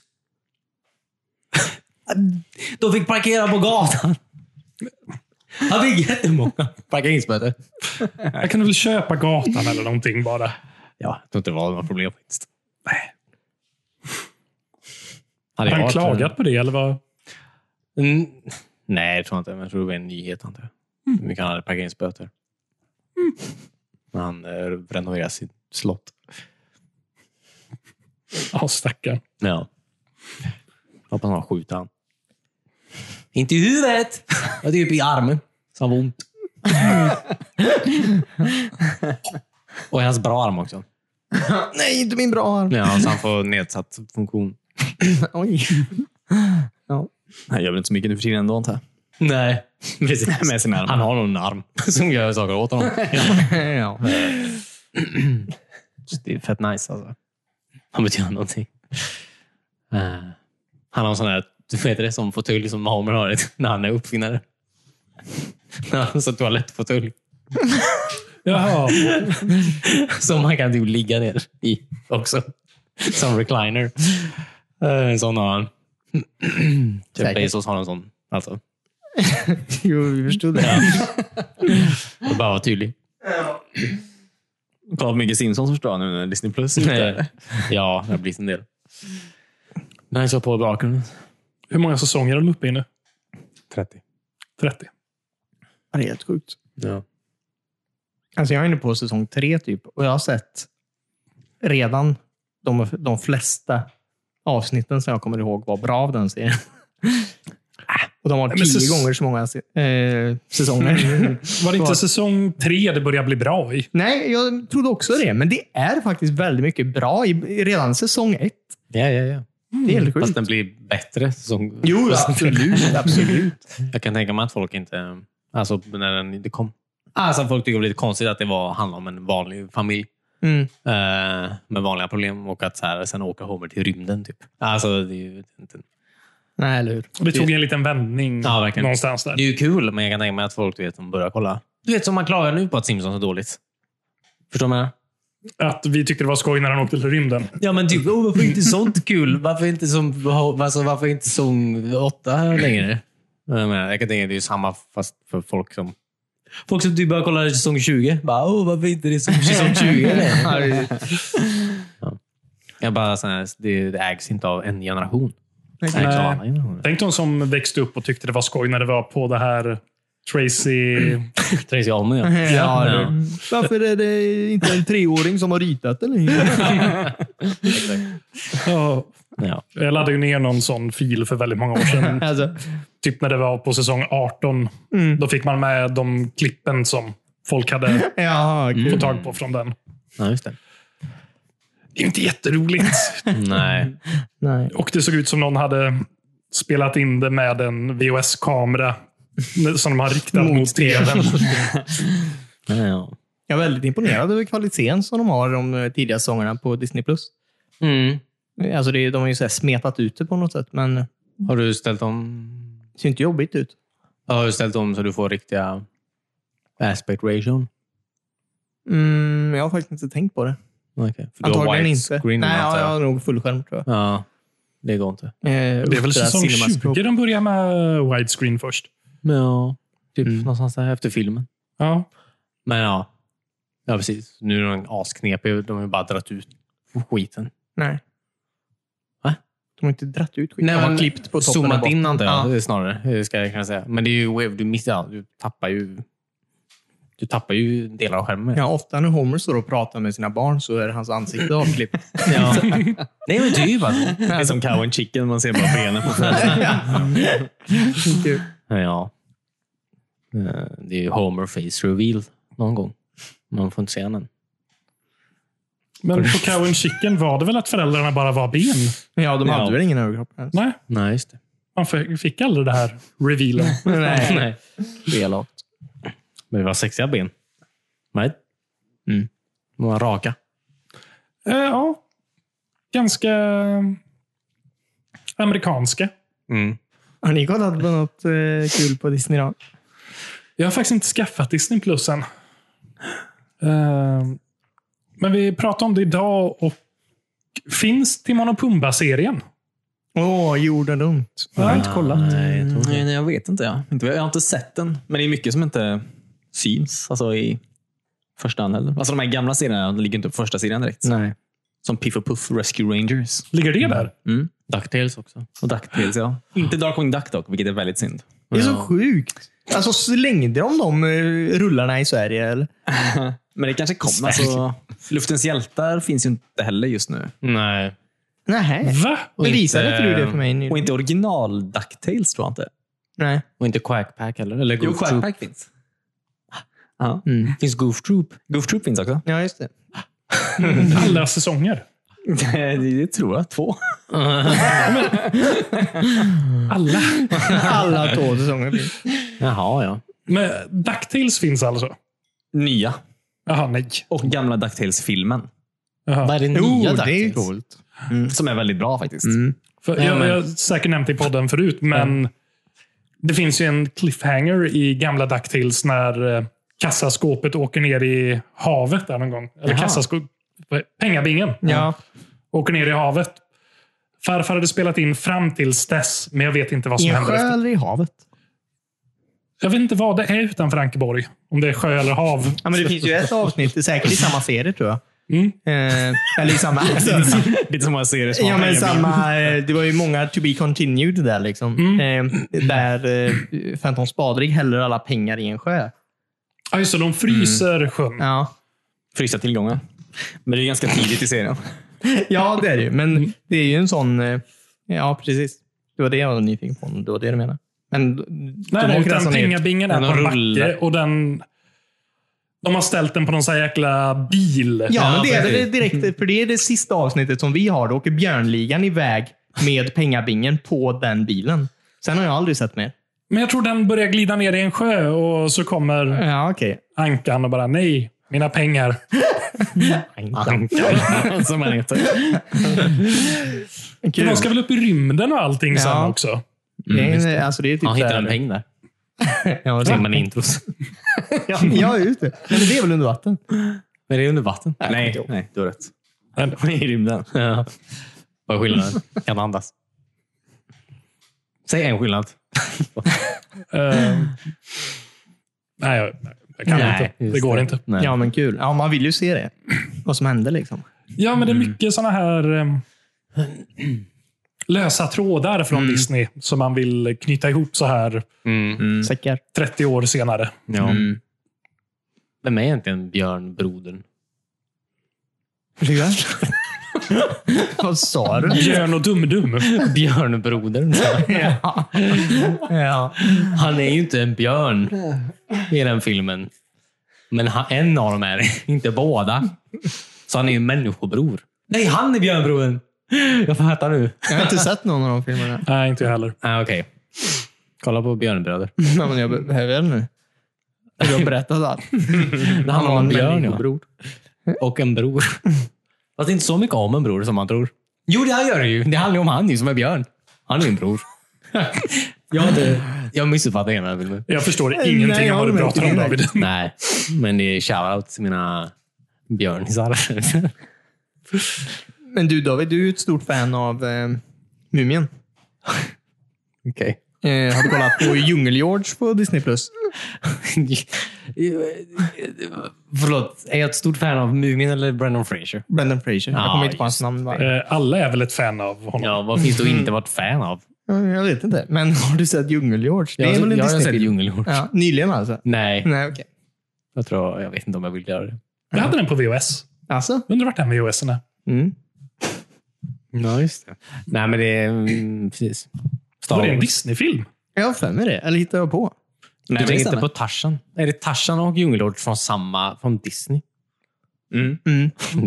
C: De fick parkera på gatan. Han fick jättemånga parkeringsböter.
A: Jag kan väl köpa gatan eller någonting bara.
C: Ja, jag tror inte det var några problem faktiskt. Nej.
A: Har
C: Hade
A: han
C: jag varit-
A: klagat på det? Eller vad?
C: Mm. Nej, jag tror inte. Men jag tror det var en nyhet. Antar jag. Hur mycket han hade parkeringsböter. Mm. När han eh, renoverade sitt slott.
A: Ja, stackarn.
C: Ja. Hoppas han skjuter han. Inte i huvudet! Jag typ i armen. Så han var ont. Och i hans bra arm också.
B: Nej, inte min bra arm.
C: Ja, så han får nedsatt funktion.
B: Oj. Ja.
D: Han gör väl inte så mycket nu för tiden ändå, antar jag.
C: Nej, precis.
D: Med sin arm.
C: Han har nog en arm som gör saker åt honom.
B: ja.
C: Så Det är fett nice alltså. Han betyder någonting. Eh, han har en sån här, du vet det, som fåtölj som Homer har när han är uppfinnare. Han har en sån toalettfåtölj
A: Jaha.
C: som man kan typ ligga ner i också. Som recliner. Eh, En sån har han. Jeff
B: Säkert.
C: Bezos har en sån. Alltså,
B: Jo, vi förstod det.
C: jag vill bara vara tydlig.
D: Kolla på mycket Simpsons förstår jag nu när Disney Plus är ute.
C: Eh, Ja, Typ det har blivit en del. Nej, så på bakgrunden.
A: Hur många säsonger är de uppe i nu?
C: 30.
A: 30.
B: Ja. Det är helt sjukt.
C: Ja.
B: Alltså jag är inne på säsong tre typ och jag har sett redan de, de flesta avsnitten som jag kommer ihåg var bra av den serien. Och de har
A: Nej, men
B: tio
A: säs-
B: gånger så många se- eh, säsonger.
A: Var det inte
B: Var-
A: säsong tre det började bli bra i?
B: Nej, jag trodde också det, men det är faktiskt väldigt mycket bra i, i redan säsong ett.
C: Ja, ja, ja.
B: Det är helt
C: Fast
B: sjukt.
C: den blir bättre. Som,
B: Jo, absolut. absolut.
C: Jag kan tänka mig att folk inte... Alltså, när den, det kom. Alltså, folk tycker det var lite konstigt att det var, handlade om en vanlig familj
B: Mm.
C: eh, med vanliga problem och att så här, sen åka Homer till rymden. Typ. Alltså, det är ju inte...
B: Nej, eller hur?
A: Och det tog en liten vändning
C: Ja, verkligen.
A: någonstans där.
C: Det är ju kul, men jag kan tänka mig att folk du vet, de börjar kolla. Du vet som man klagar nu på att Simpsons är dåligt. Förstår du vad jag menar?
A: Att vi tyckte det var skoj när han åkte till rymden.
C: Ja, men typ, oh, varför inte sånt kul? Varför inte som, alltså, varför inte som åtta längre? Jag, menar, jag kan tänka att det är samma fast för folk som... Folk som du börjar kolla säsong 20. Bara, oh, varför inte det är som säsong 20 längre?
B: Ja, det är-
C: Jag bara, så här, det, det ägs inte av en generation. Det ägs
A: Nej.
C: av alla generationer.
A: Tänk de som växte upp och tyckte det var skoj när det var på det här Tracy...
C: Tracy Ullman, ja.
B: Ja,
C: Ja.
B: det- Varför är det inte en treåring som har ritat den längre?
A: Ja.
C: ja.
A: Jag laddade ju ner någon sån fil för väldigt många år sedan.
B: Alltså,
A: typ när det var på säsong 18. Då fick man med de klippen som folk hade
B: ja, kul.
A: fått tag på från den.
C: ja, just det.
A: Det är ju inte jätteroligt.
C: Nej.
B: Nej.
A: Och det såg ut som någon hade spelat in det med en VHS-kamera som de har riktat mot tvn.
C: Ja.
B: Jag är väldigt imponerad över kvaliteten som de har i de eh, tidiga säsongerna på Disney+. Plus.
C: Mm.
B: Alltså det, är- de har ju så här smetat ut det på något sätt, men det
C: Har du ställt om
B: ser inte jobbigt ut.
C: Jag har ju ställt om så du får riktiga aspect ratio.
B: Mm, jag har faktiskt inte tänkt på det.
C: Okay. För
B: Antagligen inte.
C: screen,
B: Nej,
C: antar
B: ja, jag
C: jag.
B: har nog fullskärm tror jag.
C: ja, det går inte.
B: Eh,
A: Det är väl
B: Ultra
A: säsong
B: CinemaScope.
A: 20 de börjar med widescreen först.
C: Men ja, typ
B: Mm.
C: någonstans där efter filmen.
A: Ja.
C: Men ja, ja precis. Nu är de asknepiga. De har ju bara dragit ut skiten.
B: Nej.
C: Va?
B: De har inte dratt ut skiten. De har klippt på toppen och
C: Zoomat
B: botten.
C: in antar jag
B: Ja.
C: det är snarare. Det ska jag kunna säga. Men det är ju wave. Du missar, ja, du tappar ju du tappar ju delar av skärmen.
B: Ja, ofta när Homer står och pratar med sina barn så är hans ansikte avklippt.
C: Ja. Nej, men typ alltså.
D: Det är som cow and chicken, man ser bara benen på den.
B: Kul.
C: Ja. Eh, Det är ju Homer face reveal någon gång. Man får inte se den än.
A: Men på Cow and Chicken var det väl att föräldrarna bara var ben?
B: ja, de hade
C: Ja.
B: väl ingen överkropp ens.
A: Nej,
C: Nej, just det.
A: man f- fick aldrig det här revealen.
B: Nej.
C: Nej. Det är elakt. Men det var sexiga ben. Nej. Mm. De var raka.
A: Eh, ja, ganska eh, amerikanska.
B: Har ni kollat på något eh, kul på Disney då?
A: Jag har faktiskt inte skaffat Disney Plus än. Eh, men vi pratade om det idag och finns Timon och Pumba-serien.
B: Åh, jorden runt.
A: Jag har inte kollat.
C: Nej, jag tror inte.
D: Nej, nej, jag vet inte. Jag. inte. Jag har inte sett den, men det är mycket som inte syns alltså, i första hand heller. Alltså, de här gamla serierna ligger inte på första sidan direkt.
B: Nej.
D: Som Piff och Puff Rescue Rangers.
A: Ligger det där?
D: Mm.
C: Ducktails också.
D: Och DuckTales, ja. Inte Darkwing Duck dock, vilket är väldigt synd.
B: Det är så
C: Ja.
B: sjukt. Alltså, slängde de de eh, rullarna i Sverige? Eller?
D: Men det kanske kommer. Alltså, Luftens hjältar finns ju inte heller just nu.
C: Nej.
B: Nej.
A: Va?
B: Men
C: inte-
B: visade inte du det för mig
D: Och
B: nyligen?
D: inte original DuckTales tror jag inte.
B: Nej.
C: Och inte Quackpack heller. Eller Goof Troop.
D: finns. Ja.
B: Mm.
C: Finns Goof Troop?
D: Goof Troop finns också.
B: Ja, just det.
A: Alla säsonger?
D: det, det tror jag. Två.
A: Alla?
B: Alla två säsonger. blir.
C: Jaha, ja.
A: Men Ducktails finns alltså?
D: Nya.
A: Jaha, nej.
D: Och gamla DuckTales-filmen.
A: Jaha.
C: Vad är Oh, det
B: Jo,
C: nya
B: det är ju
C: Ducktails?
B: coolt.
D: Som är väldigt bra faktiskt.
A: För
B: Nej,
A: jag,
B: men-
A: jag har säkert nämnt det i podden förut, men det finns ju en cliffhanger i gamla Ducktails när eh, kassaskåpet åker ner i havet där någon gång. Eller
D: Jaha.
A: kassaskåpet. Pengabingen.
B: Ja.
A: Åker ner i havet. Farfar hade spelat in fram tills dess, men jag vet inte vad
B: I
A: som
B: en
A: händer.
B: sjö
A: Efter.
B: eller i havet?
A: Jag vet inte vad det är utanför Ankeborg. Om det är sjö eller hav.
B: Ja, men det finns ju ett avsnitt, det är säkert i samma serie tror jag.
A: Mm.
B: Eh, eller i samma...
D: Lite som man ser det som
B: ja,
D: man-
B: men samma eh, det var ju många to be continued där. Liksom. Eh, där eh, Phantom Spadrig häller alla pengar i en sjö.
A: Ja, just det, de fryser sjön.
B: Mm. Ja.
D: Frysta tillgångar. Men det är ganska tidigt i serien.
B: ja, det är det ju. Men det är ju en sån... eh, Ja, precis. Det var det jag var nyfiken på. om Det var det du menade. Men d-
A: Nej,
B: de
A: nej,
B: åker
A: utan
B: alltså ner-
A: pengabingen är
C: Den
A: på en
C: rullar.
A: backe och den De har ställt den på någon sån här jäkla bil.
B: Ja, Mm. men det är
C: precis.
B: det direkt. För det är det sista avsnittet som vi har. Då åker Björnligan iväg med pengabingen på den bilen. Sen har jag aldrig sett mer.
A: Men jag tror den börjar glida ner i en sjö och så kommer
B: Ja, okej.
A: Ankan och bara nej, mina pengar.
C: Som han heter.
A: För
B: Kul.
A: de ska väl upp i rymden och allting sen
B: Ja.
A: också?
C: Mm,
B: Det är en- Alltså, det är typ
C: Han hittar
B: där-
C: en peng där.
B: Ja,
C: Ser man
B: det.
C: i intros.
B: Ja, ja, just det. Men det är väl under vatten?
D: Men det är under vatten.
B: Nej,
D: Nej, nej du har rätt.
A: Men-
D: I rymden.
C: Ja. Vad är skillnaden? Kan andas. Säg en skillnad.
A: Eh, nej, jag, jag kan
C: Nej,
A: inte. Det
C: just
A: går
C: det.
A: inte.
C: Nej.
B: Ja, men kul. Ja, man vill ju se det. Vad som hände liksom.
A: Ja, men det är mycket såna här eh, lösa trådar
B: Mm.
A: från Disney som man vill knyta ihop så här
C: Mm.
B: Säckar.
A: 30 år senare.
C: Ja. Mm. Vem är egentligen björnbrodern?
B: Björn? Vad sa du?
A: Björn och Dum-Dum.
C: Björnbrodern.
B: Ja. ja.
C: Han är ju inte en björn i den filmen. Men han, en av dem är det. Inte båda. Så han är ju en människobror. Nej, han är björnbrodern! Jag fattar nu.
B: Jag har inte sett någon av de filmerna.
A: Nej, inte jag heller.
C: Ah, Okej. Kolla på Björnbröder.
B: Ja, men jag behöver den nu. Du har berättat allt.
C: Det handlar om en björn ja.
B: människobror.
C: och en bror. Fast inte så mycket om en bror som man tror. Jo, det här gör det ju. Det handlar ju om han ju som är björn. Han är ju en bror. jag, har inte, jag missuppfattar hela filmen.
A: Jag förstår ingenting
B: jag
A: av vad du
B: håller med
A: pratar om
B: direkt.
A: David.
C: Nej, men det är shoutout till mina björnisar.
B: Men du David, du är ju ett stort fan av eh, Mumien.
C: Okej.
B: Eh, har du kollat på Djungel-George på Disney+. Plus?
C: Förlåt, är jag ett stort fan av Mumin eller Brendan Fraser?
B: Brendan Fraser. Jag
C: Ja,
B: kommer inte på hans
C: just
B: namn. Bara.
A: Eh, Alla är väl ett fan av honom?
C: Ja, vad finns det att inte varit fan av?
B: Ja, Jag vet inte. Men har du sett Djungel-George?
C: Jag,
B: Det är väl en
C: jag har sett
B: Disney-film?
C: Djungelhorn.
B: Ja, nyligen alltså?
C: Nej,
B: Nej, okej.
C: jag tror jag vet inte om jag vill göra det.
A: Jag hade den på VHS.
B: Alltså?
A: Undrar vart den VHSen är.
B: Mm.
C: Ja, just det. Nej, men det är... Mm, precis. Star
A: Var det en
C: Wars.
A: Disney-film?
B: Jag har för mig det. Eller hittar jag på?
C: Nej,
D: Det
C: men inte
D: stämmer.
C: på Tarzan. Är det Tarzan och Djungelhorn från samma... Från Disney?
B: Mm.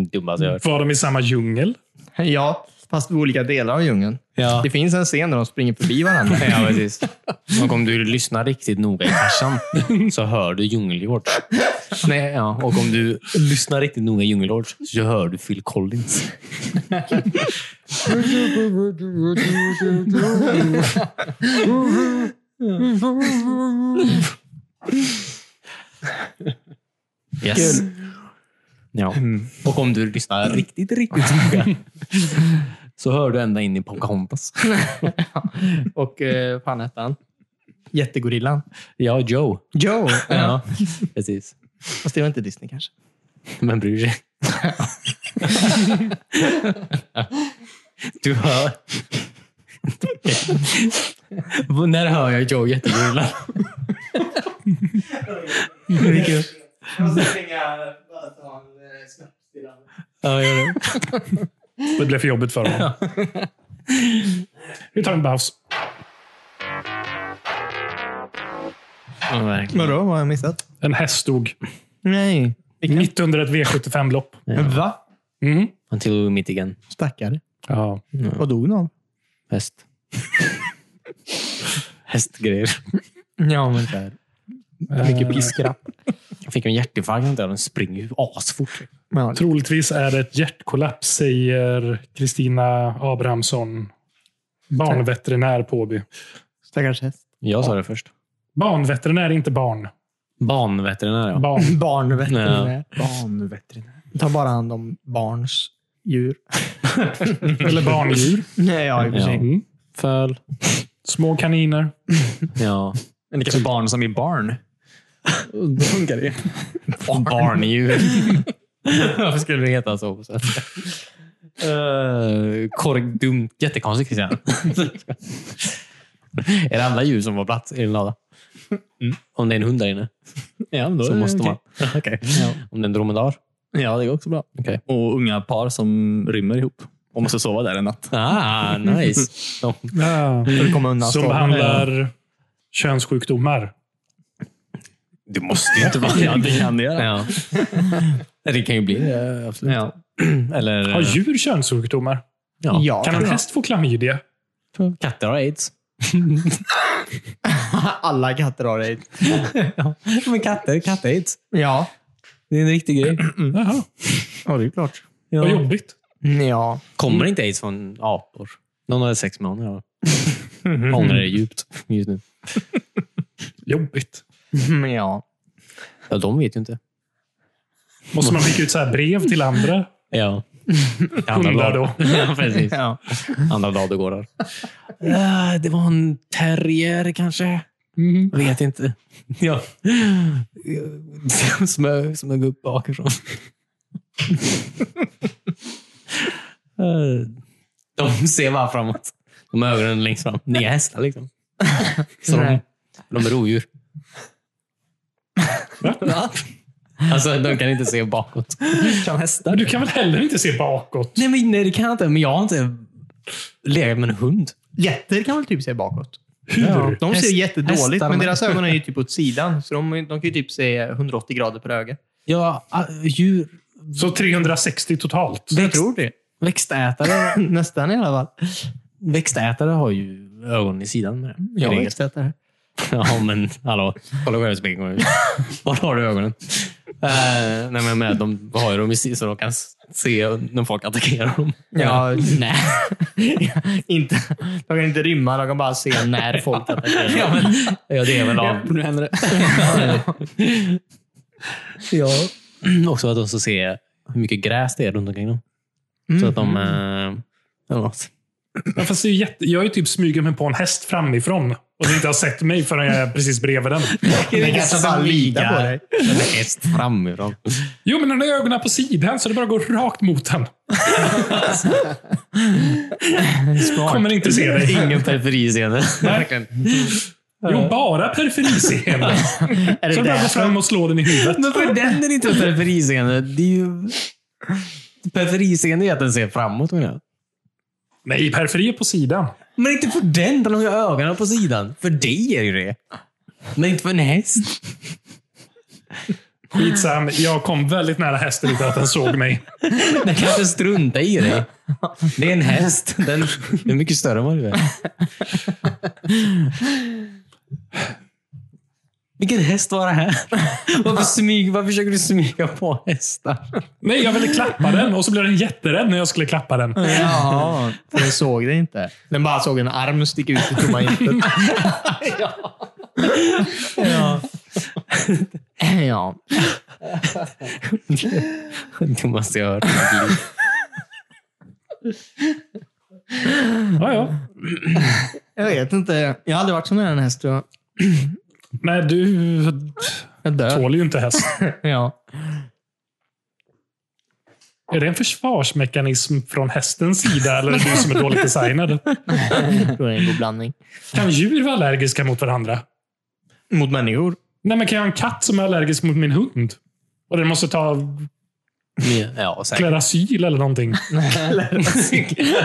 C: Dummaste jag hört.
A: Var de i samma djungel?
B: Ja, fast i olika delar av djungeln.
C: Ja.
B: Det finns en scen där de springer förbi varandra.
C: ja, precis. Och om du lyssnar riktigt noga i Tarzan så hör du Djungelhorn. Nej, ja. Och om du lyssnar riktigt noga i Djungelhorn så hör du Phil Collins. Yes. Ja. Och om du lyssnar riktigt, riktigt noga så hör du ända in i Pocahontas.
B: Och eh, fan hette han? Jättegorillan.
C: Ja, Joe.
B: Joe.
C: Ja, precis.
B: Fast det var inte Disney kanske.
C: Men bryr sig? du hör... När hör jag Joe jättegurgla? Vilken...
B: Jag måste springa bara ta en eh, snabbt
C: Ja, gör det.
A: Det blev för jobbigt för honom. Vi tar en paus.
C: Ja, verkligen.
B: Vadå? Vad har jag missat?
A: En häst dog.
B: Nej.
A: Mitt under ett V75-lopp.
B: Va?
A: Mm.
C: Until we meet again.
B: Stackare.
A: Ja.
B: Vad dog någon?
C: Häst. Hästgrejer.
B: Ja, men där. Mycket piskrapp.
C: Jag fick en hjärtinfarkt där. Den springer ju asfort.
B: Ja,
A: Troligtvis är det ett hjärtkollaps, säger Kristina Abrahamsson, barnveterinär Påby.
B: stackars häst.
C: Jag sa det först.
A: Barnveterinär, inte barn.
C: Banveterinär, ja.
A: Barn.
B: Barnveterinär. Barnveterinär. Ta bara hand om barns djur.
A: Eller barndjur.
B: Nej, ja, i och för sig.
A: Mm.
C: Föl.
A: Små kaniner.
C: Ja.
D: Men det kanske är barn som är barn. Då funkar det.
C: Barn. Barndjur. Varför skulle det heta så? på svenska? Eh, korg, dumt. Jättekonstigt Christian. är det alla djur som var plats i en lada? Om det är en hund där inne
D: Ja, då
C: så måste man.
D: Okej.
C: Om det är en dromedar.
D: Ja, det går också bra.
C: Okej.
D: Och unga par som rymmer ihop och måste sova där en natt.
C: Ah, nice. De,
B: För att komma undan
A: Som
B: stormen.
A: behandlar könssjukdomar.
D: Det måste ju inte vara det. Det kan det göra.
C: Ja. det kan ju bli det, absolut.
D: Ja.
C: Eller
A: Har djur könssjukdomar?
C: ja.
B: Ja.
A: Kan en häst få klamydia?
C: katter har aids.
B: Alla katter har det.
C: ja. Men katter, katt-aids.
B: Ja.
C: Det är en riktig grej.
A: Jaha,
B: Mm. ja, det är klart.
A: vad
C: Ja.
A: jobbigt.
B: Ja.
C: Kommer inte aids från apor? Någon hade sex med honom. Jag ångrar det djupt just nu.
A: Jobbigt.
B: ja.
C: Ja, de vet ju inte.
A: Måste man skicka ut så här brev till andra
C: Ja.
A: hundar då?
C: Ja, precis.
B: ja.
C: Andra ladugårdar. Ah, det var en terrier kanske.
A: Mm.
C: Vet inte. Ja. Smög, smög upp bakifrån. Eh, de ser bara framåt. De har ögonen längst fram. Ni är hästar liksom. Så de,
B: Nej.
C: de är rovdjur. Va? alltså, de kan inte se bakåt. Kan hästar?
A: Men Du kan väl heller inte se bakåt?
C: Nej, men, nej, det kan jag inte. Men jag har inte legat med en hund.
B: Jätter kan väl typ se bakåt?
A: Hur?
B: De ser
C: Häst-
B: jättedåligt,
C: hästarna.
B: men deras ögon är ju typ åt sidan. Så de, de kan ju typ se 180 grader per öga.
C: Ja, a- äh, djur.
A: Så 360 totalt?
C: Växt,
B: det.
C: växtätare,
B: Nästan i alla fall.
C: växtätare har ju ögonen i sidan med det.
B: Jag
C: Eller
B: är
C: inget.
B: växtätare.
C: Ja, men hallå. Kolla själv i spegeln. Var har du ögonen? Eh, nej, men med, de har ju dem i sidan så de kan s- se när folk attackerar dem.
B: Ja,
C: nej.
B: inte, de kan inte rymma, de kan bara se när folk attackerar.
C: ja, men, ja, det är väl av...
D: Nu händer det.
C: ja. Också att de så ser hur mycket gräs det är runt omkring dem. Så att de... eh, eller något.
A: Ja, fast det är ju jätte... Jag är ju typ smyger mig på en häst framifrån och du inte har sett mig förrän jag är precis bredvid den.
B: De kanske bara litar på dig.
C: Den är häst framifrån.
A: Jo, men den har ögonen på sidan så det bara går rakt mot den. Kommer inte se dig.
C: Ingen periferiseende. Verkligen.
A: Jo, bara periferiseende.
B: Är det
A: Så du bara
B: därför-
A: går fram och slår den i huvudet.
C: Men för den är det inte periferiseende. Det är ju... Periferiseende är att den ser framåt menar jag.
A: Nej, periferi är på sidan.
C: Men inte för den, den har ju ögonen på sidan. För dig är det ju det. Men inte för en häst.
A: Skitsam. Jag kom väldigt nära hästen utan att den såg mig.
C: Den kanske struntar i dig. Det är en häst. Den den är mycket större än vad du är. Vilken häst var det här? Varför, smyg, varför försöker du smyga på hästar?
A: Nej, jag ville klappa den och så blev den jätterädd när jag skulle klappa den.
B: Ja, för den såg det inte. Den bara såg en arm sticka ut i tomma intet.
C: Ja.
B: Ja.
C: Thomas, jag hör.
A: Ja, ja.
B: Jag vet inte. Jag har aldrig varit så nära en häst tror jag.
A: Nej, du
B: Jag dör.
A: tål ju inte häst.
B: Ja.
A: Är det en försvarsmekanism från hästens sida eller är det du som är dåligt designad?
B: Jag tror det är en god blandning.
A: Kan djur vara allergiska mot varandra?
B: Mot människor?
A: Nej, men kan jag ha en katt som är allergisk mot min hund? Och den måste ta
C: Ja, säkert.
A: klerasyl eller någonting.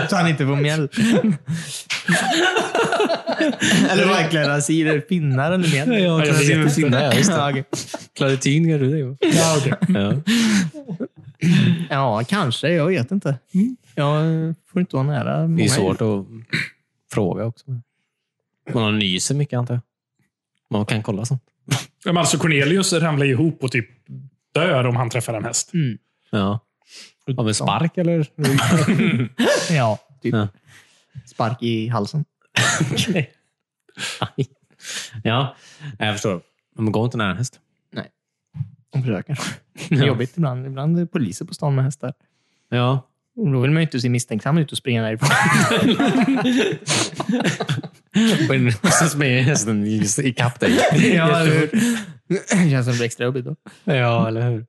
B: Så han inte får mjäll. eller vad klaracider? Pinnar eller mjäll?
C: Ja,
A: jag vet
C: klaritin
A: inte.
C: sinne. Ja, just det.
B: Ja, okej.
C: Klaritin kanske det är.
A: Ja, okej.
C: Ja.
B: ja, kanske. Jag vet inte. Jag eh, får inte vara nära.
C: Mm. Det
B: många
C: är svårt att fråga också. Man har nyser mycket antar jag. Man kan kolla sånt.
A: Ja, men Alltså Cornelius ramlar ihop och typ dör om han träffar en häst.
B: Mm.
C: Ja. Av en spark eller?
B: djur. Ja, typ.
C: Ja.
B: Spark i halsen.
C: Aj. ja, jag förstår. Men gå inte nära en häst.
B: De försöker. Det är jobbigt ibland. Ibland är poliser på stan med hästar.
C: Ja.
B: Och Då vill man ju inte se misstänksam ut och springa därifrån.
C: Men så springer hästen i- ikapp dig.
B: ja, eller hur? Det känns som det blir extra jobbigt då.
C: ja, eller hur?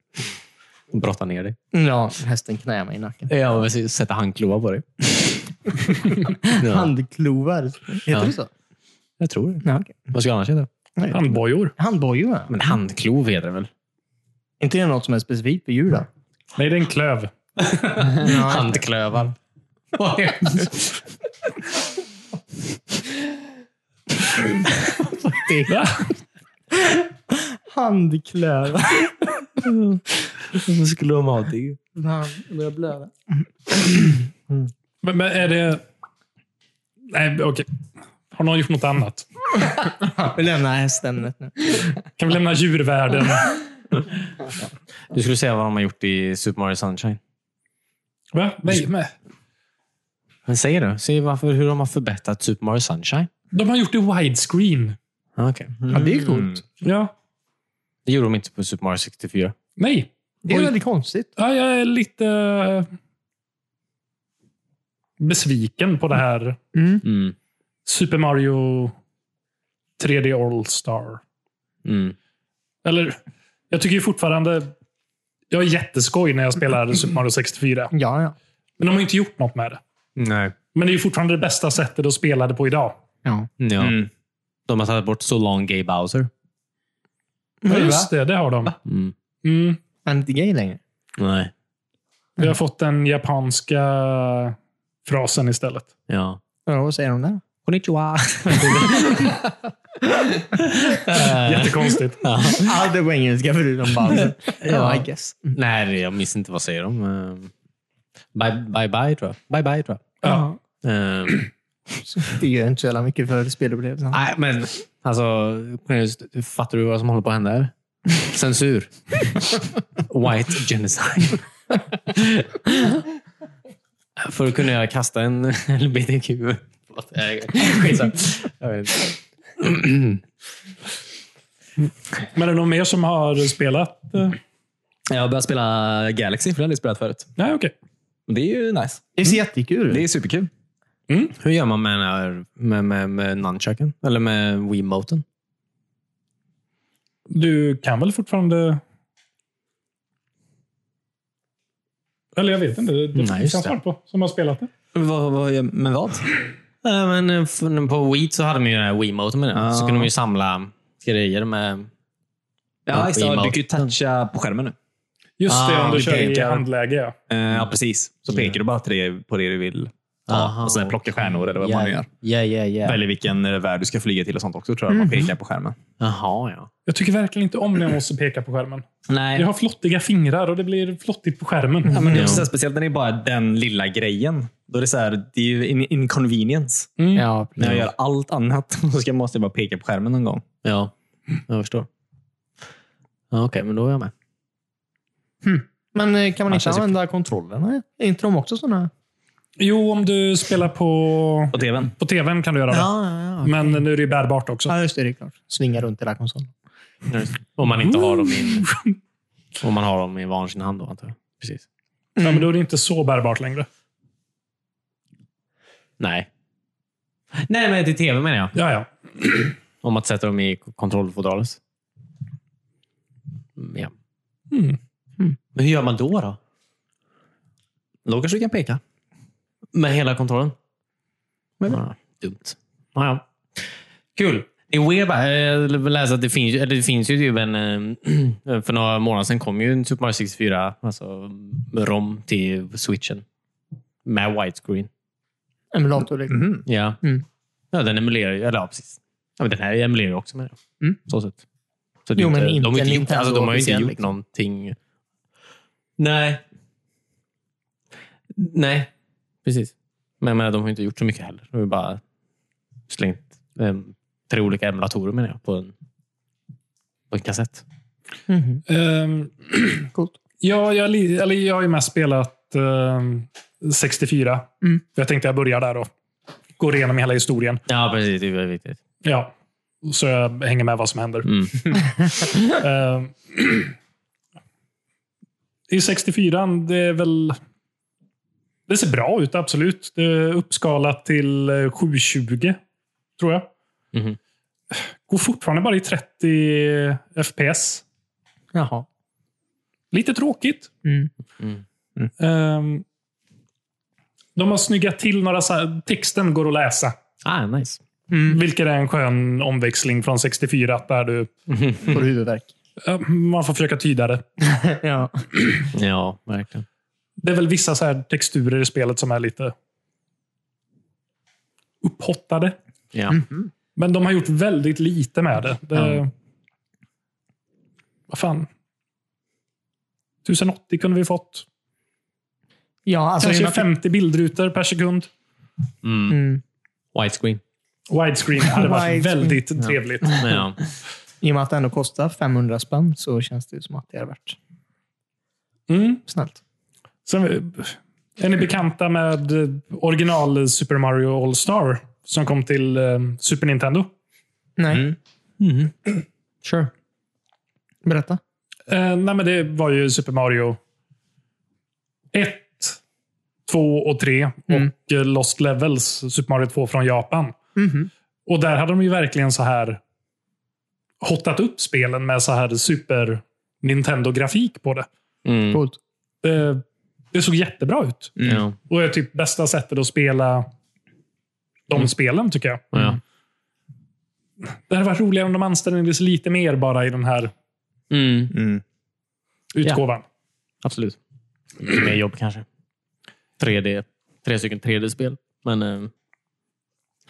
C: Brottar ner dig.
B: Ja, hästen knäar mig i nacken.
C: Ja, precis. Sätter handklovar på dig. ja,
B: Handklovar. Heter
C: Ja.
B: det så?
C: jag tror det.
B: Ja, okej.
C: Vad ska jag annars heta?
A: Handbojor.
B: Handbojor, va?
C: Men handklov heter det väl?
B: Inte det något som är specifikt för djur då?
A: Nej, det är en klöv.
C: Handklövar.
A: Va?
B: Handkläder.
C: Varför skulle de ha det?
B: Han börjar blöda.
A: Men, men är det... Nej, okej. Har någon gjort något annat?
B: Vi lämnar hästämnet nu.
A: Kan vi lämna djurvärlden?
C: Du skulle säga vad de har gjort i Super Mario Sunshine.
A: Va? Nej, men.
C: Men säg då. Säg varför, hur de har förbättrat Super Mario Sunshine.
A: De har gjort det widescreen.
C: Ah, Okej.
B: Ja, det är coolt.
A: Ja.
C: Det gjorde de inte på Super Mario 64.
A: Nej.
B: Det är
A: Oj.
B: väldigt konstigt.
A: Ja, jag är lite eh, besviken på det här
C: Mm.
A: Super Mario 3D All-Star.
C: Mm.
A: Eller, jag tycker ju fortfarande... Jag är jätteskoj när jag spelar Super Mario 64.
B: Ja, ja.
A: Men de har ju inte gjort något med det.
C: Nej.
A: Men det är ju fortfarande det bästa sättet att spela det på idag.
B: ja.
C: Ja. De har tagit bort So Long Gay Bowser.
A: Ja, just det. Det har de.
C: Mm.
A: Mm.
B: Han är inte gay längre.
C: Nej.
A: Vi har fått den japanska frasen istället.
C: Ja.
B: Ja, vad säger de där?
C: Konnichiwa. Eh,
A: Jättekonstigt.
B: Allt är på engelska förutom Bowser. ja, I guess.
C: Nej, jag minns inte. Vad säger de? Eh, Bye, bye, bye, tror jag. Bye, bye, tror
A: Ja.
C: jag. Eh,
B: Det gör inte så jävla mycket för spelupplevelsen.
C: Nej, men alltså, Cornelius, fattar du vad som håller på att hända här? Censur. White genocide. Förr kunde jag kasta en LBTQ. Förlåt, jag- skitsamma. Jag vet inte.
A: Men är det någon mer som har spelat? eh?
C: Mm.
D: Jag har börjat spela Galaxy, för det har jag aldrig spelat förut.
A: Nej, okej.
D: Och Det är ju nice.
B: Det ser jättekul
D: Det
B: ut.
D: är superkul.
C: Hur gör man med, den här- med, med, med nunchucken? Eller med Wiimoten?
A: Du kan väl fortfarande... Eller jag vet inte. Det det
C: Nej,
A: finns
C: just
A: en
C: det.
A: svart på som har spelat det.
D: Vad, vad, men vad?
C: Äh, men eh, f- på Wii så hade de ju den här Wiimoten med den. Så
D: Ja.
C: kunde de ju samla grejer med...
D: Ja, just det. Du
C: Remote.
D: kan ju toucha på skärmen nu.
A: Just det,
C: Ah,
A: om du
D: det
A: kör i
D: pekar.
A: handläge. Ja.
D: Eh, ja, precis. Så pekar du bara till det, på det du vill ta
C: Aha.
D: och sen plocka stjärnor eller vad man
C: Ja,
D: nu gör.
C: ja, ja, ja.
D: Väljer vilken eh, värld du ska flyga till och sånt också, tror jag. Man pekar på skärmen.
C: Jaha, ja.
A: Jag tycker verkligen inte om när jag måste peka på skärmen.
C: Nej.
A: Jag har flottiga fingrar och det blir flottigt på skärmen.
D: Ja, men det
C: Ja.
D: är också så här, speciellt när det är bara den lilla grejen. Då är det, så här, det är ju in- inconvenience.
A: Mm.
B: Ja, eh,
D: När jag gör allt annat så ska, måste jag bara peka på skärmen någon gång.
C: Ja, jag förstår. Ja, Okej, men då är jag med.
B: Men eh, kan man
D: Man
B: inte
D: känns ju-
B: använda kontrollerna? Är inte de också sådana?
A: Jo, om du spelar på,
D: På tvn.
A: på tvn kan du göra det.
B: ja, ja.
A: Men nu är det ju bärbart också.
B: Ja, just det. Det är klart. Svinga runt hela konsolen.
C: Om man inte har dem i Om man har dem i var sin hand då, antar jag. Precis.
A: Ja, men då är det inte så bärbart längre.
C: Nej. Nej, men till tv menar jag.
A: Ja, ja.
C: Om att sätta dem i k- kontrollfodralet. Mm, ja.
A: Mm.
C: Men hur gör man då? då?
D: Då kanske du kan peka.
C: Med hela kontrollen? Ja, dumt. Ja, ja. Kul. Det är weird. va? Jag läste att det finns, eller det finns ju typ en... eh, För några månader sedan kom ju en Super Mario 64, alltså ROM till switchen. Med widescreen.
B: Emulator. liksom.
C: Ja.
B: Mm.
C: ja, den emulerar ju... Eller ja, precis. Ja, men den här emulerar ju också med det.
B: Mm.
C: Så sett. Så det är
B: Jo, men
C: de, har
B: inte
C: ju gjort, alltså, de har ju inte
B: Nintendo-officiell,
C: gjort
B: liksom.
C: någonting... Nej. Nej, precis. Men jag menar, de har ju inte gjort så mycket heller. De har ju bara slängt em, tre olika emulatorer menar jag, på en, på en kassett.
B: Mhm.
A: Ehm,
B: Coolt.
A: ja, jag, li- eller jag har ju mest spelat ehm, 64.
B: Mm.
A: För Jag tänkte jag börjar där och går igenom hela historien.
C: Ja, precis. Det är väldigt viktigt.
A: Ja. Så jag hänger med vad som händer.
C: Mm.
A: Ehm, I 64 det är väl... Det ser bra ut, absolut. Det är uppskalat till eh, 720, tror jag.
C: Mhm.
A: Går fortfarande bara i 30 FPS.
B: Jaha.
A: Lite tråkigt.
B: Mm.
A: Ehm, de har snyggat till några... Så här, texten går att läsa.
C: Ah, nice.
A: Vilket är en skön omväxling från 64. Där du,
B: Får huvudvärk.
A: ja, man får försöka tyda det.
B: ja.
C: Ja, verkligen.
A: Det är väl vissa så här texturer i spelet som är lite upphottade.
C: Ja.
A: Men de har gjort väldigt lite med det. det
C: Ja.
A: vad fan. 1080 kunde vi fått.
B: Ja, alltså, i och
A: Kanske
B: med att-
A: 50 bildrutor per sekund.
B: mm.
C: Widescreen.
A: Widescreen hade varit
B: Widescreen.
A: väldigt trevligt.
C: Men ja.
B: I och med att det ändå kostar 500 spänn så känns det ju som att det är värt
A: Mm.
B: snällt.
A: Sen, är ni bekanta med eh, original Super Mario All-Star som kom till eh, Super Nintendo?
B: Nej,
C: Mm.
B: sure. Berätta.
A: Eh, nej, men det var ju Super Mario 1, 2 och 3
B: Mm.
A: och eh, Lost Levels, Super Mario 2 från Japan.
B: Mhm.
A: Och där hade de ju verkligen så här hottat upp spelen med så här Super Nintendo-grafik på det.
C: Mm.
B: Coolt.
A: Eh, det såg jättebra ut.
C: Ja.
A: Och är typ bästa sättet att spela de spelen, tycker jag.
C: Ja.
A: Det hade varit roligare om de ansträngdes lite mer bara i den här
C: Mm.
A: utgåvan.
C: Absolut. Lite mer jobb kanske. 3D. Tre stycken 3D-spel. Men eh,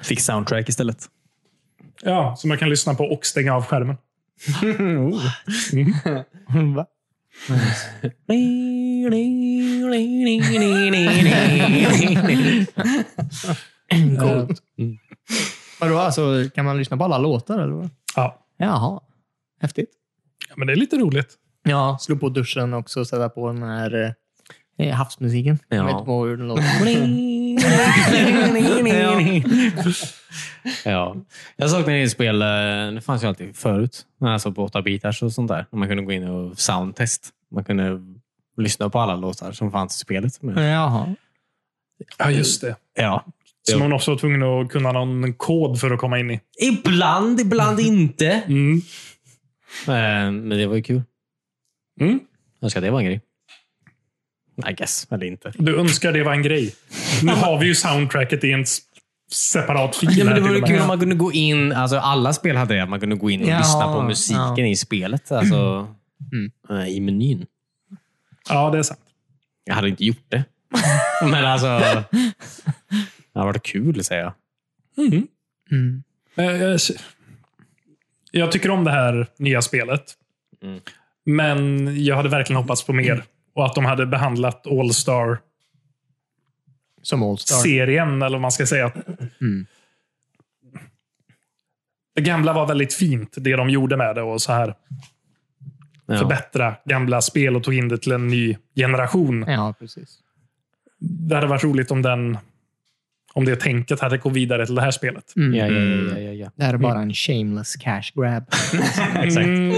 C: fick soundtrack istället.
A: Ja. som man kan lyssna på och stänga av skärmen.
B: Va? Coolt.
C: Mm.
B: Vadå, alltså, kan man lyssna på alla låtar? Eller vad?
A: Ja,
B: Jaha, häftigt.
A: Ja, men det är lite roligt.
B: Ja, slå på duschen också och sätta på den här eh, havsmusiken.
C: Ja.
B: Jag vet inte vad den låter.
C: ja. Jag saknar ju spel, eh, det fanns ju alltid förut, men alltså på 8 bitars och sånt där. Man kunde gå in och soundtest. Man kunde lyssna på alla låtar som fanns i spelet. Men,
B: Jaha.
A: Ja, just det.
C: ja.
A: Som hon också var tvungen att kunna någon kod för att komma in i.
C: Ibland, ibland inte. Eh,
A: Mm.
C: Men det var ju kul.
A: Mm.
C: Önskar att det var en grej. I guess, eller inte.
A: Du önskar det var en grej. Nu har vi ju soundtracket i en s- separat fil.
C: Ja, men det
A: här till
C: vore
A: och med.
C: kul om man kunde gå in, alltså alla spel hade det, att man kunde gå in och
B: Ja,
C: lyssna på musiken
B: ja.
C: i spelet. Alltså, eh, I menyn.
A: Ja, det är sant.
C: Jag hade inte gjort det. men alltså, det hade varit kul säger jag.
A: Mm.
B: Mm.
A: Eh, Jag, jag tycker om det här nya spelet.
C: Mm.
A: Men jag hade verkligen hoppats på mer. Och att de hade behandlat All-Star
B: Som Allstar.
A: serien, eller vad man ska säga.
C: Mm.
A: Det gamla var väldigt fint, det de gjorde med det. och så här
C: Ja.
A: Förbättra gamla spel och tog in det till en ny generation.
B: Ja, precis.
A: Det hade varit roligt om den om det tänket hade gått vidare till det här spelet.
B: Mm.
C: Ja, ja, ja, ja, ja.
B: Det här är bara en shameless cash grab.
C: Exakt.
A: Mm,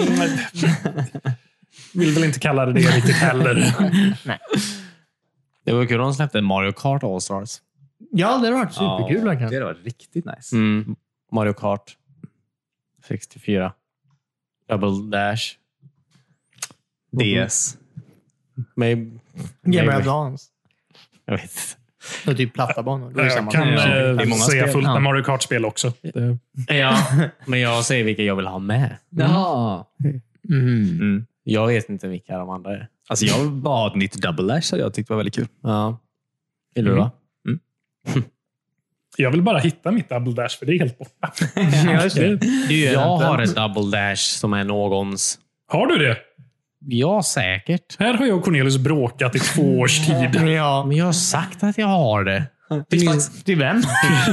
A: vill väl inte kalla det det riktigt heller.
C: Det var kul om de släppte Mario Kart All-Stars.
B: ja, det har varit superkul verkligen.
D: var riktigt nice.
C: Mm. Mario Kart 64. Double Dash. Mm.
D: Mm.
C: DS. Maybe.
B: Game
C: Maybe.
B: Boy Advance.
C: Jag vet inte.
B: Och typ platta banor. Det är ju samma
A: Jag kan
B: sak.
A: eh,
C: Det är många
A: säga
C: spel.
A: fullt
B: Ja.
A: med Mario Kart-spel också. Det-
C: Ja, men jag säger vilka jag vill ha med.
D: Jaha.
B: Mm.
C: Jag vet inte vilka de andra är.
D: Alltså jag vill bara ha ett nytt double dash hade jag tyckte var väldigt kul.
C: Ja. Vill du då?
A: Jag vill bara hitta mitt Double Dash, för det är helt borta.
B: Ja, just det.
C: Jag har ett double dash som är någons.
A: Har du det?
C: Ja, säkert.
A: Här har jag och Cornelius bråkat i två års tid.
B: Ja.
C: Men jag har sagt att jag har det.
B: Till, till vem?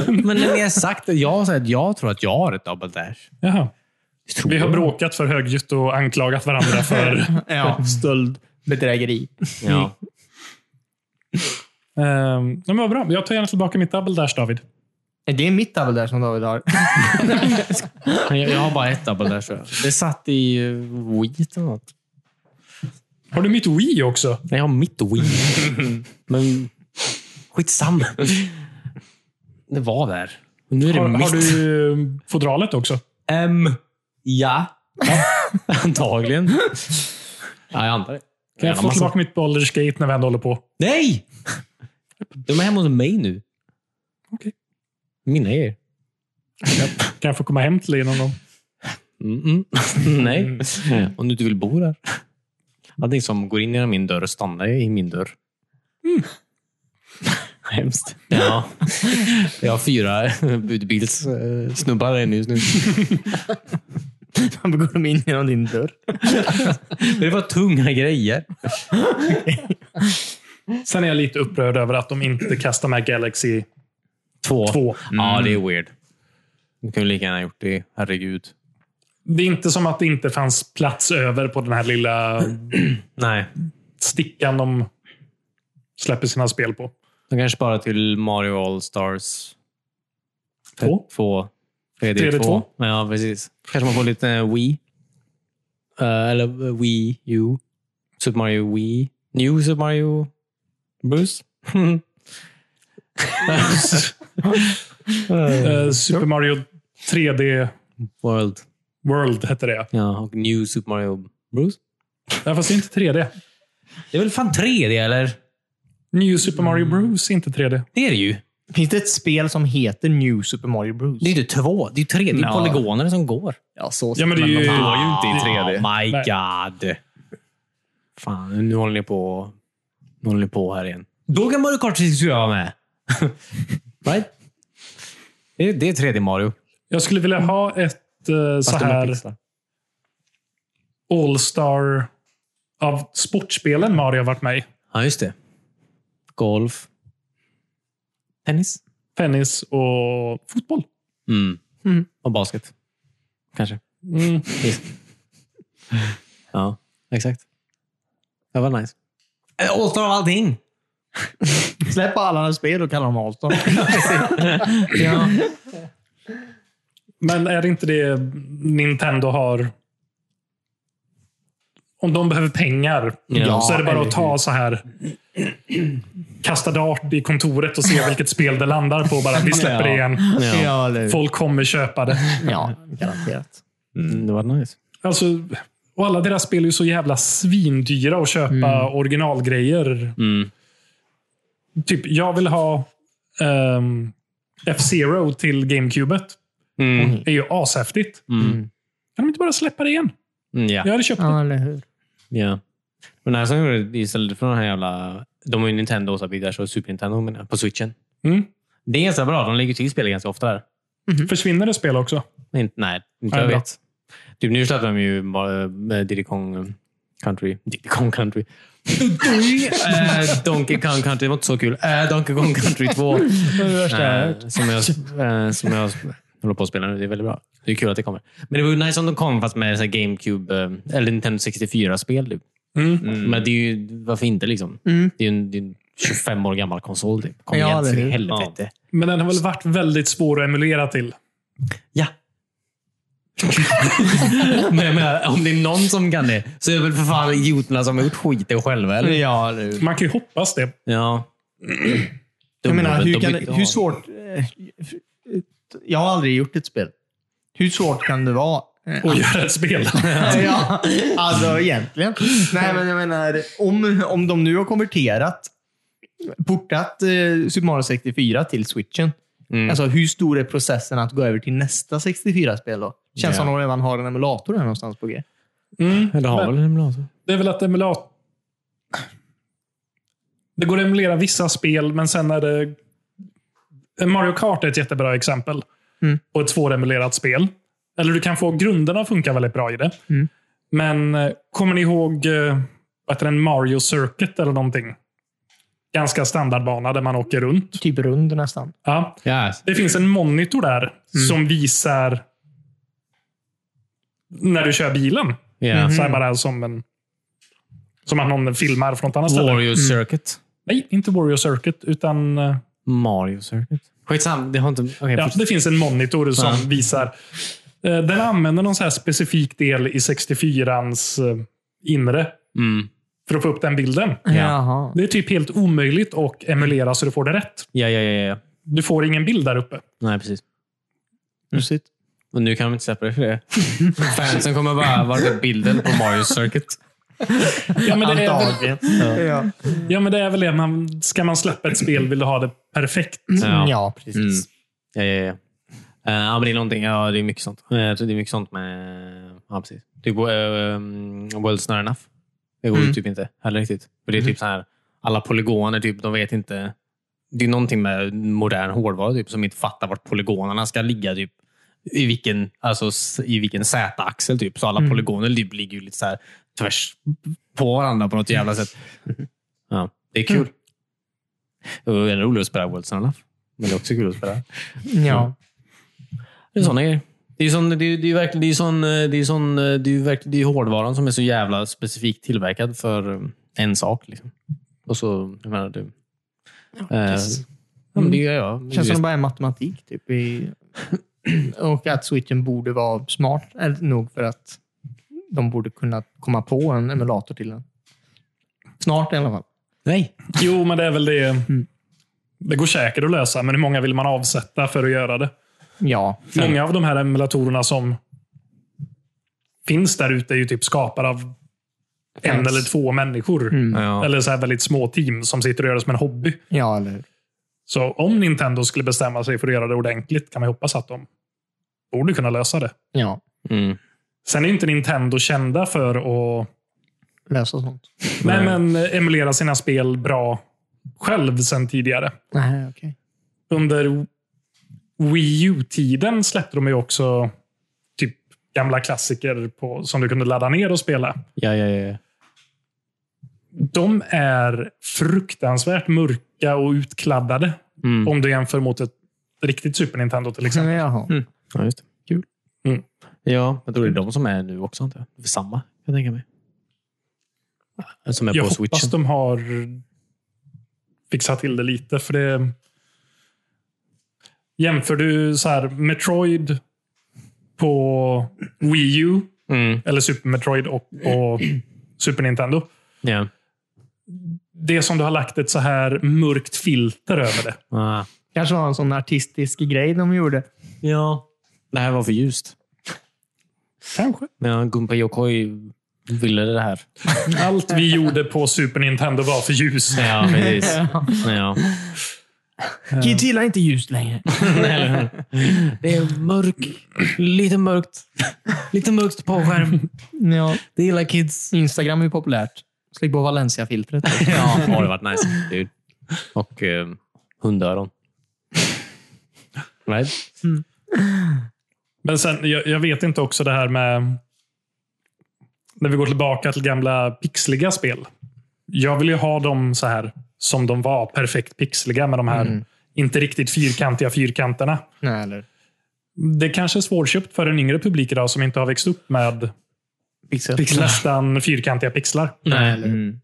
C: Men när ni har sagt det, jag har sagt att jag tror att jag har ett double dash.
A: Jaha.
C: Tror
A: Vi har
C: jag.
A: bråkat för högljutt och anklagat varandra för...
B: ja. Stöld, bedrägeri.
C: Ja.
A: Ehm, ja, men vad bra. Jag tar gärna tillbaka mitt double dash, David.
B: Det är mitt double där som David har.
C: Men Jag, jag har bara ett double dash. tror jag. Det satt i eh, Wii eller något.
A: Har du mitt Wii också?
C: Nej, jag har mitt Wii. Men skitsamma. Det var där. Och Nu är det
A: Har,
C: mitt.
A: har du eh, fodralet också?
C: M. Ja. Antagligen. Ja, jag antar det.
A: Kan jag
C: Gärna
A: få
C: massa-
A: tillbaka mitt Baldur's Gate när vi ändå håller på?
C: Nej! De är hemma hos mig nu.
A: Okej.
C: Mina er.
A: Kan jag få komma hem till dig någon gång?
C: Mm-mm. Nej. Om du inte vill bo där. Allting som går in genom min dörr stannar i min dörr. Hemskt. Mm. Ja. Jag har fyra budbilssnubbar i nu.
B: Han går de in genom din dörr.
C: Det var tunga grejer.
A: Sen är jag lite upprörd över att de inte kastar med Galaxy
C: Två.
A: 2.
C: Ja, det är weird. Du kunde lika gärna gjort det. Herregud.
A: Det är inte som att det inte fanns plats över på den här lilla
C: Nej,
A: stickan de släpper sina spel på.
C: de kanske bara till Mario All-Stars
A: Två?
C: 2. 3D2.
A: 3D2.
C: Men Ja, precis. Kanske man får lite Wii. Eh, eller Wii U. Super Mario Wii. New Super Mario Bros.
A: Eh, Super Mario 3D
C: World.
A: World hette det.
C: Ja, och New Super Mario Bros.
A: Ja, fast det är inte 3D.
C: Det är väl fan 3D, eller?
A: New Super Mario Bros är inte 3D.
C: Det är det ju.
B: Finns det ett spel som heter New Super Mario Bros?
C: Det är ju inte två. Det är ju tre. Det är ju
B: Ja.
C: polygoner som går.
B: Ja, så
A: Ja, men det är ju-
B: de-
A: var ju
C: inte
A: i
C: 3D. Oh my
A: Nej.
C: god. Fan, nu håller ni på, nu håller ni på här igen. Då kan Mario Kart 64 vara med. right? Det är, det är 3D Mario.
A: Jag skulle vilja ha ett eh, så
C: Fast de är
A: här
C: pixlar.
A: All-star av sportspelen Mario har varit med i.
C: Ja, just det. Golf. Tennis.
A: Tennis och fotboll.
C: Mm.
B: Mm.
C: Och basket. Kanske.
A: Mm.
C: Ja, exakt. Det var nice. Äh, All-star av allting!
B: Släpp alla andra spel och kalla dem Alston.
C: Ja.
A: Men är det inte det Nintendo har? Om de behöver pengar
C: Ja,
A: så är det bara
B: eller
A: att ta så här kasta dart i kontoret och se vilket spel det landar på. Bara, vi släpper det igen.
C: ja.
B: eller
A: Folk kommer köpa det.
B: Ja, garanterat.
C: Mm, det var nice.
A: Alltså, och alla deras spel är ju så jävla svindyra att köpa originalgrejer.
C: Mm.
A: Typ, jag vill ha ehm, F-Zero till GameCubet.
C: Mm.
A: Det är ju ashäftigt.
C: Mm.
A: Kan de inte bara släppa det igen?
C: Mm, ja.
A: Jag hade köpt det.
B: Ja, eller hur?
C: Ja. Men det här som gjorde det istället för den här jävla... De har ju Nintendo och så vidare, så Super Nintendo menar jag, på switchen.
A: Mm.
C: Det är ganska bra. De lägger till spel ganska ofta där.
A: Försvinner det spel också?
C: Nej, nej inte
A: Ja,
C: jag
A: bra.
C: vet. Typ nu släppte de ju bara med Diddy Kong eh, Country. Diddy Kong Country. Eh, Donkey Kong Country. Det var inte så kul. Eh, Donkey Kong Country 2. Eh, som, jag, eh, som jag håller på att spela nu. Det är väldigt bra. Det är kul att det kommer. Men det var ju nice om de kom fast med så här GameCube eh, eller Nintendo 64-spel. Typ.
A: Mm.
C: Men det är ju, varför inte? liksom?
B: Mm.
C: Det är ju en, det är en 25 år gammal konsol. Typ. Kom
B: Ja,
C: igen,
B: det är
C: för
B: det.
C: i helvete.
A: Men den har väl varit väldigt svår att emulera till.
C: Ja. men jag menar, om det är någon som kan det så är det väl för fan idioterna som har gjort skiten själva, eller?
B: Ja, eller hur?
A: Man kan ju hoppas det.
C: Ja.
B: Jag menar,
C: Dumma,
B: hur,
C: de
B: kan,
C: bytte
B: hur
C: av.
B: svårt... eh, Jag har aldrig gjort ett spel. Hur svårt kan det vara? Eh,
A: Och göra ett spel.
B: ja, alltså egentligen. Nej, men jag menar, om, om de nu har konverterat, portat eh, Super Mario 64 till switchen.
C: Mm.
B: Alltså, hur stor är processen att gå över till nästa 64-spel då? Känns
C: Ja.
B: som de redan har en emulator här någonstans på G.
A: Mm.
C: Eller har
A: Men-
C: väl en emulator?
A: Det är väl att emulat... Det går att emulera vissa spel, men sen är det... Mario Kart är ett jättebra exempel
B: Mm.
A: på ett svåremulerat spel. Eller du kan få grunderna att funka väldigt bra i det.
B: Mm.
A: Men eh, kommer ni ihåg eh, vad heter den, Mario Circuit eller någonting? Ganska standardbana där man åker runt.
B: Typ rund nästan.
A: Ja. Det finns en monitor där
B: Mm.
A: som visar när du kör bilen.
C: Ja.
A: Eh, Så här bara som en... Som att någon filmar från ett annat ställe.
B: Mm.
C: Wario Circuit.
A: Nej, inte Warrior Circuit, utan... eh,
C: Mario Circuit. Skitsamma, det har inte... Okej,
A: Ja,
C: fortsätt.
A: det finns en monitor som
C: Ja.
A: visar. eh, Den använder någon så här specifik del i 64ans eh, inre
C: mm.
A: för att få upp den bilden.
B: Jaha.
A: Det är typ helt omöjligt att emulera så du får det rätt.
C: ja, ja, ja, ja.
A: Du får ingen bild där uppe.
C: Nej, precis.
B: Mysigt.
C: Och nu kan de inte släppa det för det. Fansen kommer bara, var är bilden på Mario Circuit?
A: Ja, men det är väl,
B: Antagligen.
C: Ja.
B: Ja.
A: ja, men det, är väl det. Man, ska man släppa ett spel vill du ha det perfekt.
C: Ja.
B: ja, precis.
C: Mm. Ja, ja, ja. Eh, ja, men det är någonting. Ja, det är mycket sånt. Eh, jag tror det är mycket sånt med... Ja, precis. Typ uh, World's Not Enough. Det går ju
B: Mm.
C: typ inte heller riktigt. För det är typ så här, alla polygoner, typ, de vet inte... Det är någonting med modern hårdvara typ, som inte fattar vart polygonerna ska ligga. Typ. i vilken, alltså, s- i vilken Z-axel. Typ. Så alla
B: Mm.
C: polygoner li- ligger ju lite så här tvärs på varandra på något jävla sätt. Ja, det är kul.
B: Mm.
C: Det är roligt att spela World Enough. Men det är också kul att spela. Mm.
B: Ja.
C: Det är såna grejer. Det är ju sån, det är, ju- det är ju verkligen, det är ju sån, eh, det är ju sån, eh, det är ju verkligen, det är ju hårdvaran som är så jävla specifikt tillverkad för eh, en sak. Liksom. Och så, jag menar, det, eh,
B: precis.
C: ja, men det gör jag.
B: känns som det bara är matematik. Typ, i, och att switchen borde vara smart eller nog för att de borde kunna komma på en emulator till den. Snart i alla fall.
C: Nej.
A: Jo, men det är väl det. Det går säkert att lösa, men hur många vill man avsätta för att göra det?
B: Ja.
A: Många av de här emulatorerna som finns där ute är ju typ skapade av en
B: Fans.
A: eller två människor.
B: Mm.
C: Ja.
A: Eller så här väldigt små team som sitter och gör det som en hobby.
B: Ja, eller
A: Så om Nintendo skulle bestämma sig för att göra det ordentligt kan man ju hoppas att de borde kunna lösa det.
B: ja.
C: Mm.
A: Sen är inte Nintendo kända för att
B: Lösa sånt.
A: nej, men, emulera sina spel bra själv sen tidigare.
B: Nej, okej.
A: Under Wii U-tiden släppte de ju också typ gamla klassiker på, som du kunde ladda ner och spela.
C: Ja, ja, ja.
A: De är fruktansvärt mörka och utkladdade
C: Mm.
A: om du jämför mot ett riktigt Super Nintendo till exempel.
B: Jaha.
C: ja just det. Kul.
A: Mm.
C: Ja, jag tror det är de som är nu också. Inte? jag? Det är samma, kan jag tänka mig. Som är
A: Jag
C: på
A: hoppas
C: switchen.
A: de har fixat till det lite. För det... Jämför du så här Metroid på Wii U,
C: Mm.
A: eller Super Metroid och på Super Nintendo.
C: Ja.
A: Det är som du har lagt ett så här mörkt filter över det.
C: Ah.
B: Kanske var en sån artistisk grej de gjorde.
C: ja. Det här var för ljust.
A: Kanske.
C: Ja, Gunpei Yokoi ville det här.
A: Allt vi gjorde på Super Nintendo var för ljus.
C: Ja, precis. Ja.
B: Kids gillar inte ljus längre.
C: Det är mörk, lite mörkt. Lite mörkt på skärm.
B: Ja.
C: Det gillar kids.
B: Instagram är populärt. Släng på Valencia-filtret.
C: Ja, har det varit nice. Dude. Och eh, hundöron. Right?
A: Men sen, jag, jag vet inte också det här med... När vi går tillbaka till gamla pixliga spel. Jag vill ju ha dem så här som de var, perfekt pixliga med de här inte riktigt fyrkantiga fyrkanterna.
B: Nej, eller
A: Det kanske är svårköpt för en yngre publik idag som inte har växt upp med
B: pixel.
A: nästan fyrkantiga pixlar.
B: Nej, eller
C: Mm.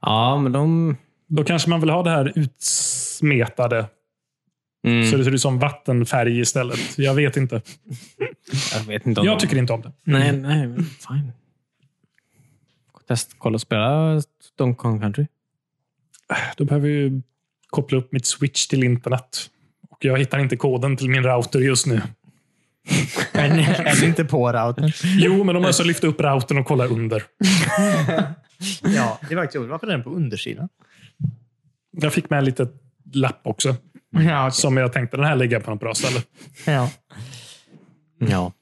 C: Ja, men de...
A: Då kanske man vill ha det här utsmetade,
C: Mm.
A: så det ser ut som vattenfärg istället. Jag vet inte.
C: jag vet inte om
A: Jag
C: de...
A: tycker inte om det.
C: Nej, nej. men Fine. Test, kolla och spela Donkey Kong Country.
A: Då behöver jag ju koppla upp mitt switch till internet. Och jag hittar inte koden till min router just nu.
B: Är ni, är ni inte på routern?
A: Jo, men de måste lyfta upp routern och kolla under.
B: Ja, det är faktiskt roligt. Varför är den på undersidan?
A: Jag fick med en liten lapp också.
B: Ja, okej.
A: Som jag tänkte, den här lägger jag på något bra ställe.
B: ja.
C: Ja.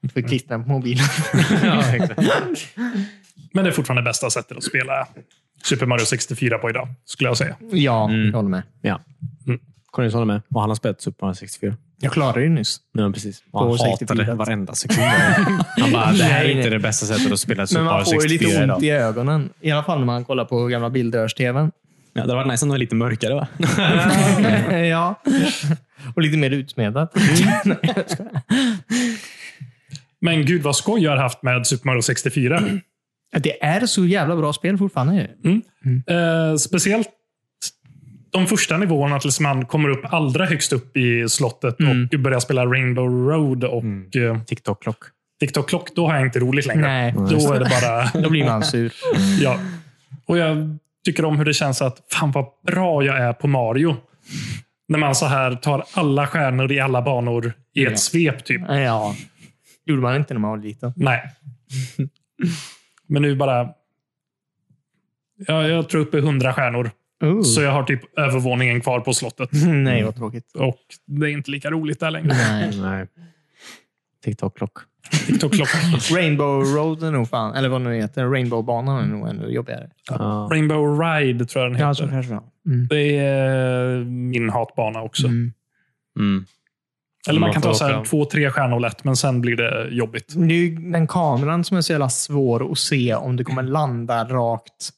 B: Du får klistra den på mobilen.
C: ja, exakt.
A: Men det är fortfarande bästa sättet att spela Super Mario 64 på idag, skulle jag säga.
B: Ja, jag håller med.
C: Ja.
A: Mm.
C: Cornelius håller med. Och han har spelat Super Mario 64.
B: Jag klarade ju nyss.
C: Ja, precis. Och han
B: På
C: hatade
B: 64.
C: varenda sekund. Han bara, det här är
B: Nej,
C: inte
B: nej.
C: det bästa sättet att spela Super
B: Men
C: Mario
B: man får ju
C: 64
B: lite
C: idag.
B: ont i ögonen. I alla fall när man kollar på gamla bildrörs-tvn.
C: Ja, det hade varit nice om det var lite mörkare, va?
B: ja. Mm. Och lite mer utsmedat.
A: Men gud vad skoj jag har haft med Super Mario 64.
B: Det är så jävla bra spel fortfarande. ju.
A: Eh, speciellt de första nivåerna tills man kommer upp allra högst upp i slottet och börjar spela Rainbow Road och
B: Mm.
A: eh,
C: TikTok-klock.
A: TikTok Clock. Då har jag inte roligt längre.
B: Nej,
A: Då är det bara...
B: då blir man sur.
A: Ja. Och jag tycker om hur det känns att fan vad bra jag är på Mario. När man så här tar alla stjärnor i alla banor i ett
B: Ja.
A: svep. typ.
B: Ja. gjorde man inte när man var liten.
A: Nej. Men nu bara... Ja, jag tror uppe i 100 stjärnor.
B: Uh.
A: Så jag har typ övervåningen kvar på slottet.
B: Nej, vad tråkigt.
A: Och det är inte lika roligt där längre.
B: Nej.
C: Nej. TikTok-klock.
A: TikTok Clock.
B: Rainbow Road är nog fan, eller vad nu heter, Rainbowbanan är nog ännu jobbigare.
C: Ja.
A: Rainbow Ride tror jag den heter.
B: kanske det. Mm.
A: Mm. Det är eh, min hatbana också.
B: Mm.
C: Mm.
A: Eller man
D: Man
A: kan
D: får
A: ta så här,
D: åka.
A: två, tre stjärnor lätt, men sen blir det jobbigt.
B: Det är ju den kameran som är så jävla svår att se om du kommer landa rakt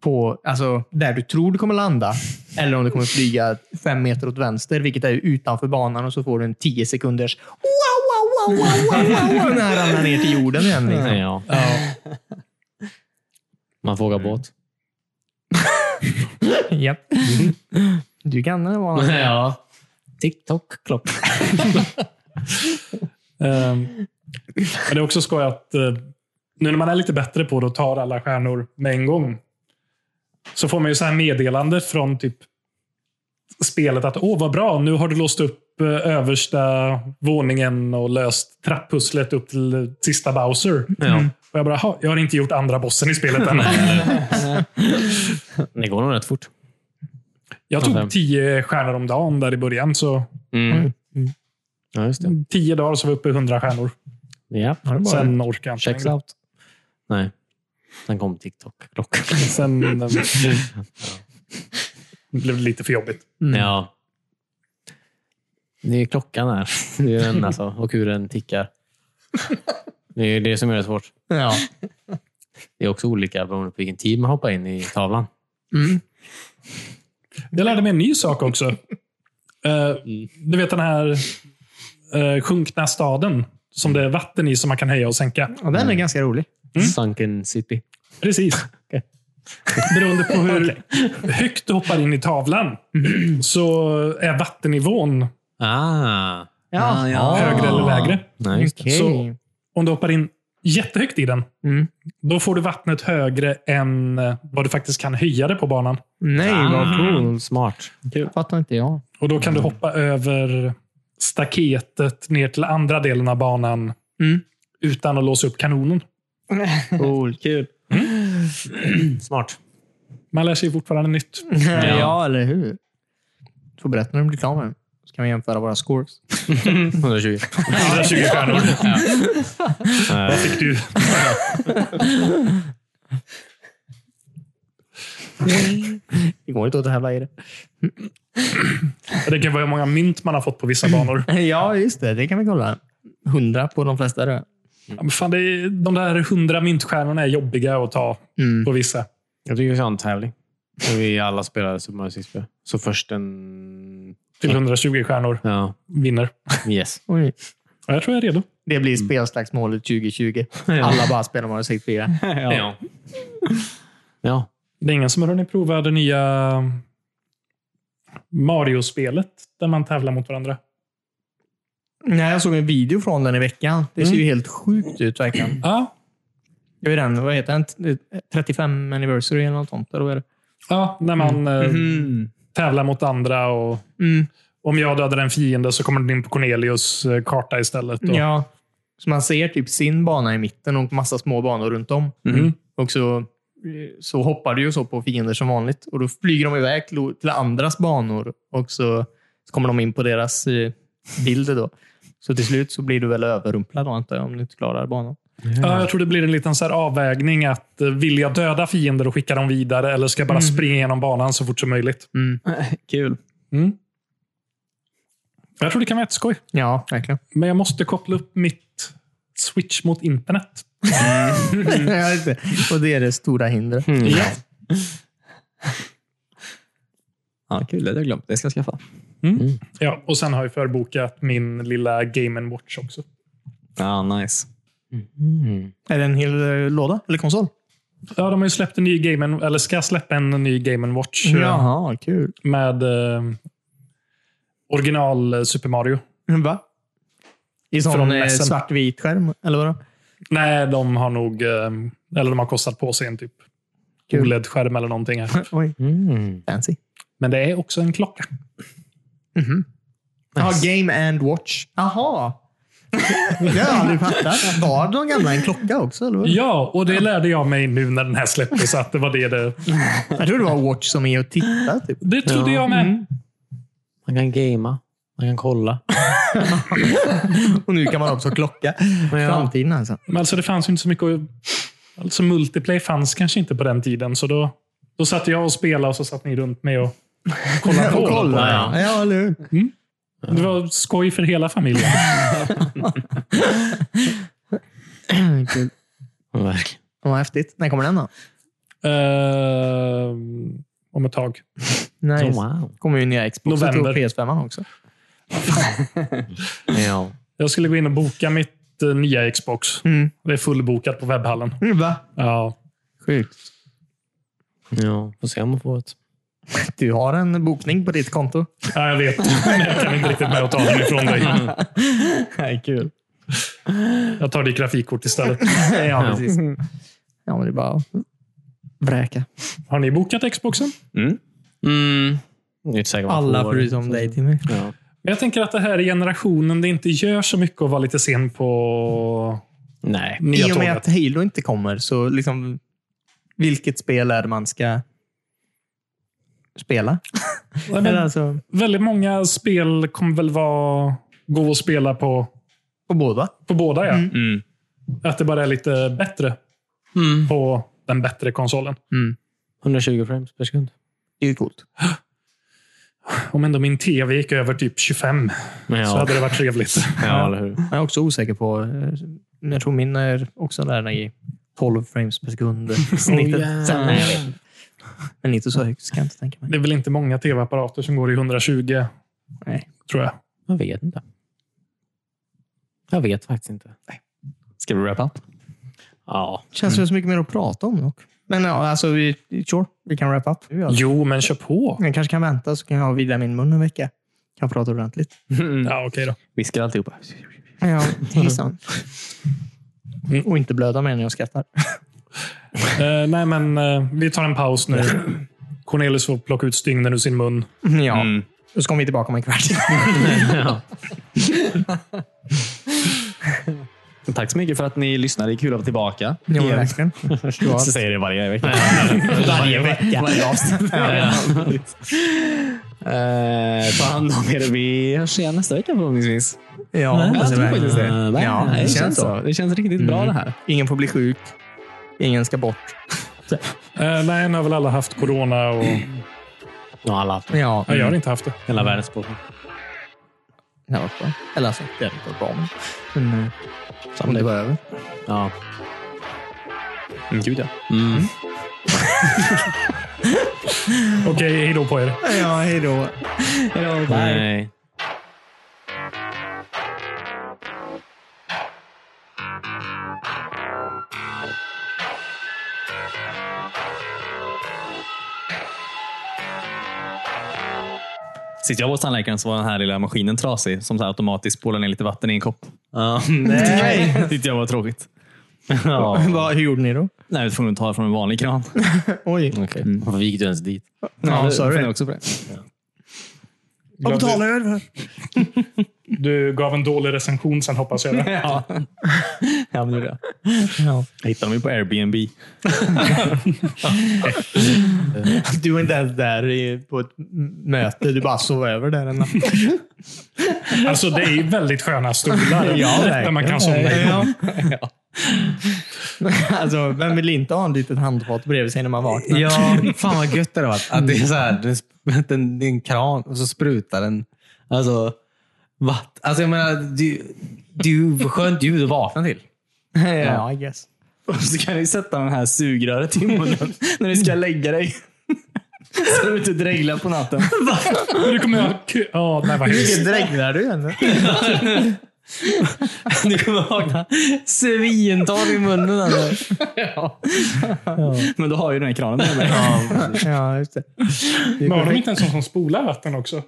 B: på, alltså där du tror du kommer landa. Eller om du kommer flyga fem meter åt vänster, vilket är utanför banan och så får du en 10 sekunders wow, wow, wow, wow, wow, wow, när han ramlar ner till jorden igen. Liksom.
D: Ja. Man får åka båt.
B: Japp. Mm. Du kan eh, vara
D: ja. TikTok klock.
A: Ehm, Men det är också skoj att eh, nu när man är lite bättre på det och tar alla stjärnor med en gång så får man ju så här meddelande från typ spelet att åh vad bra, nu har du låst upp eh, översta våningen och löst trapppusslet upp till eh, sista Bowser.
D: Ja.
A: Och jag bara, "Ha, jag har inte gjort andra bossen i spelet än.
D: Det går nog rätt fort.
A: Jag tog tio stjärnor om dagen där i början, så
D: Mm. Ja, just det.
A: tio dagar så var vi uppe i hundra stjärnor.
D: Ja.
A: Sen orkade jag inte
D: Checks
A: längre.
D: out. Nej. Sen kom TikTok klockan.
A: Sen eh, blev det lite för jobbigt.
D: Ja. Mm. Det är klockan här. Det är den alltså. Och hur den tickar. Det är ju det som är det svårt.
B: Ja.
D: Det är också olika beroende på vilken tid man hoppar in i tavlan.
B: Mm.
A: Jag lärde mig en ny sak också. Eh,
D: Mm.
A: Du vet den här eh, sjunkna staden som det är vatten i som man kan höja och sänka.
B: Och den är ganska rolig.
D: Mm. Sunken city.
A: Precis. Beroende på hur högt du hoppar in i tavlan
D: Mm.
A: så är vattennivån
D: Ah.
B: Ja.
D: ja.
A: högre eller lägre.
D: Nej, just det.
B: Okej.
A: Så- Om du hoppar in jättehögt i den,
B: Mm.
A: då får du vattnet högre än eh, vad du faktiskt kan höja det på banan.
B: Nej,
D: Ah.
B: vad coolt.
D: Smart.
B: Ah. Fattar inte jag.
A: Och Då
B: Mm.
A: kan du hoppa över staketet ner till andra delen av banan
B: Mm.
A: utan att låsa upp kanonen.
B: Cool, kul.
D: Smart.
A: Man lär sig fortfarande nytt.
B: Ja. eller hur? Du får berätta när du blir klar med den. Så kan vi jämföra våra scores.
D: 120.
A: 120 stjärnor. Vad fick du?
B: Det går inte att tävla i det.
A: Det kan vara hur många mynt man har fått på vissa
B: Mm.
A: banor.
B: Ja, just det. Det kan vi kolla. 100 på de flesta. Då.
A: Ja, men Fan, det är, de där 100 myntstjärnorna är jobbiga att ta
B: Mm.
A: på vissa.
D: Jag tycker vi ska ha en tävling. Där vi alla spelar Super Mario 64. Så först en...
A: Till 120 Typ stjärnor
D: Ja.
A: vinner.
D: Yes.
B: Oj.
A: Ja, jag tror jag är redo.
B: Det blir spelslagsmålet 2020. Alla bara spelar Mario 64.
D: Ja. Ja.
A: Det är ingen som har hunnit prova det nya Mario-spelet där man tävlar mot varandra.
B: Nej, jag såg en video från den i veckan. Det ser ju helt sjukt ut verkligen.
A: Ja,
B: Det är den, vad heter den? T- 35 anniversary eller något sånt. Eller vad är det?
A: ja när man eh, tävlar mot andra. och
B: Mm.
A: Om jag dödar en fiende så kommer den in på Cornelius eh, karta istället. Och,
B: Ja. Så man ser typ sin bana i mitten och massa små banor runt om.
A: Mm.
B: Och så, så hoppar du ju så på fiender som vanligt. Och då flyger de iväg till, till andras banor. Och så, så kommer de in på deras eh, bilder då. Så till slut så blir du väl överrumplad då, antar jag, om du inte klarar banan.
A: Ja, jag tror det blir en liten så här avvägning att eh, vill jag döda fiender och skicka dem vidare eller ska jag bara springa igenom banan så fort som möjligt?
B: Mm.
C: Kul.
A: Jag tror det kan vara jätteskoj.
B: Ja, verkligen.
A: Men jag måste koppla upp mitt switch mot internet.
B: Jag vet inte. och det är det stora hindret.
A: Ja.
C: Ja, kul. Det hade jag glömt. Det ska jag skaffa.
A: Ja, och sen har jag förbokat min lilla Game Watch också.
C: Ja, nice. Mm.
B: Är det en hel eh, låda eller konsol?
A: Ja, de har ju släppt en ny Game eller ska släppa en ny Game Watch eh,
B: Jaha, kul.
A: med eh, original eh, Super Mario.
B: Va? I sån
A: Från
B: eh,
A: SN.
B: svartvit skärm, eller vadå?
A: Nej, de har nog eh, eller de har kostat på sig en typ
B: Kul.
A: OLED-skärm eller någonting. Här.
B: Oj,
D: Mm.
B: fancy.
A: Men det är också en klocka.
B: Mhm. Ja, Game and Watch. Jaha. Det har jag aldrig fattat. Var de gamla en klocka också? Eller? vad?
A: Ja, och det lärde jag mig nu när den här släpptes. Att det var det det...
B: Jag tror det var Watch som är att titta. Typ.
A: Det trodde
D: Ja.
A: jag med.
D: Man kan gamea. Man kan kolla.
B: Och nu kan man också klocka. Framtiden alltså.
A: Men alltså det fanns ju inte så mycket att- Alltså multiplay fanns kanske inte på den tiden. Så då, då satt jag och spelade och så satt ni runt mig och kollade på.
B: Och kolla.
D: ja.
B: Ja, eller hur?
A: Det var skoj för hela familjen.
B: Kul.
C: Verkligen.
B: Vad häftigt. När kommer den då?
A: Eh, om ett tag.
B: Nice.
C: Wow.
B: kommer ju nya Xbox
A: November.
B: och PS5 också.
C: Ja.
A: Jag skulle gå in och boka mitt eh, nya Xbox.
B: Mm.
A: Det är fullbokat på webbhallen.
B: Va?
A: Ja.
B: Sjukt.
C: ja, får se om man får ett.
B: Du har en bokning på ditt konto.
A: ja, jag vet. Men jag kan inte riktigt med att ta den ifrån dig.
B: Nej, kul.
A: Jag tar ditt grafikkort istället.
B: ja, precis. Ja, men det är bara att vräka.
A: Har ni bokat Xboxen?
C: Mm. Mm. Jag är inte säker på om man
B: Alla
C: får.
B: förutom dig, Timmy.
C: Ja.
A: Men Jag tänker att det här är generationen det inte gör så mycket att vara lite sen på
C: Nej.
A: nya
B: I och med
A: tåget.
B: att Halo inte kommer, så liksom, vilket spel är det man ska spela?
A: Nej,
B: Eller
A: men
B: alltså,
A: väldigt många spel kommer väl vara, gå att spela på,
B: på båda.
A: på båda. Ja.
B: Mm.
C: Mm.
A: Att det bara är lite bättre
C: Mm.
A: på den bättre konsolen.
C: 120 frames per sekund.
B: Mm. Det är ju coolt.
A: Om ändå min tv gick över typ 25 så
C: Ja,
A: hade det varit trevligt.
C: ja eller hur.
B: Jag är också osäker på... eh, Jag tror min är också där i 12 frames per sekund.
C: Oh,
B: Snittet. Sen, nej, jag vet inte. Men inte så högt ska jag inte tänka mig.
A: Det är väl inte många tv-apparater som går i 120,
B: Nej.
A: tror jag.
C: Jag vet inte. Jag vet faktiskt inte.
D: Ska vi wrap up?
C: Ja.
B: Känns det så mycket mer att prata om dock. Men ja, alltså, vi, sure, vi kan wrap up.
C: Alltså.
A: Jo, men kör på.
B: Jag kanske kan vänta så kan jag vila min mun en vecka. Kan prata ordentligt.
A: Ja, okej då.
D: Viskar alltihopa.
B: Ja, hejsan.
A: Mm.
B: Och inte blöda mer när jag skrattar.
A: Eh, nej, men eh, vi tar en paus nu. Cornelius får plocka ut stygnen ur sin mun.
B: Mm. Ja,
D: Mm.
B: och så kommer vi tillbaka om en kvart.
D: Tack så mycket för att ni lyssnade. Det är kul att vara tillbaka.
B: Jo, verkligen.
D: Jag säger det varje vecka.
B: Varje vecka. Varje avsnitt. Ja.
D: Eh, Ta hand om er. Vi hörs igen nästa vecka förhoppningsvis.
B: Ja, alltså, hoppas jag
D: tror
B: verkligen.
D: faktiskt det. Nej,
B: Ja,
D: det känns
B: känns Mm.
D: så. Det känns riktigt bra det här.
B: Ingen får bli sjuk. Ingen ska bort.
A: Eh, nej, nu har väl alla haft corona och...
C: Ja, alla.
B: Ja,
A: Nej, jag har inte haft det.
C: Hela världens befolkning.
B: det var bra. Eller alltså, det hade varit bra. Men, men eh, om det var över.
C: Ja. Mm, Gud ja.
A: Okej, hej då på er.
B: Ja, hej då.
C: Nej.
D: Sist jag var hos tandläkaren så var den här lilla maskinen trasig som så här automatiskt spolar ner lite vatten i en kopp. Ja,
B: Nej.
D: Det tyckte jag var tråkigt. Ja.
B: Vad, hur gjorde ni då?
D: Nej, vi var tvungna att ta från en vanlig kran.
B: Oj.
C: Okej. Varför gick du ens dit?
B: Mm. Ja,
D: det-
B: sorry.
D: jag också på det.
B: Vad betalar jag för?
A: Du gav en dålig recension sen, hoppas jag. Det.
D: Ja, ja men det gjorde jag.
B: Ja.
D: Jag hittade dem ju på Airbnb.
B: Du var inte ens där i- på ett m- möte. Du bara sov över där en natt.
A: Alltså, det är ju väldigt sköna stolar. där man kan somna i.
B: Ja. Alltså, vem vill inte ha en litet handfat bredvid sig när man vaknar?
C: Ja, fan vad gött det hade varit. Att det är så här, det är sp- att den- det är en kran och så sprutar den. Alltså, vatt. Alltså jag menar, du, du skönt ljud att vakna till.
B: ja I guess.
D: Och så kan du sätta den här sugröret i munnen när du ska lägga dig. Så du inte dreglar på natten.
A: Men Du kommer ha kö... Ja, nej, vad hemskt.
B: Vilket dreglar du än.
C: Du kommer vakna svintorr i munnen. Alltså.
D: Men då har ju den här kranen med mig.
B: Ja, just det.
A: Men har de inte en sån som spolar vatten också?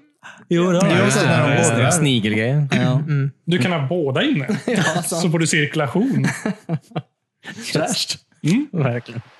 C: Jo, det har
B: jag sett när de
C: jag.
B: åker.
C: Ja, Snigelgrejen. Ja.
A: Du kan ha båda inne. Så får du cirkulation. Mm.
B: Verkligen.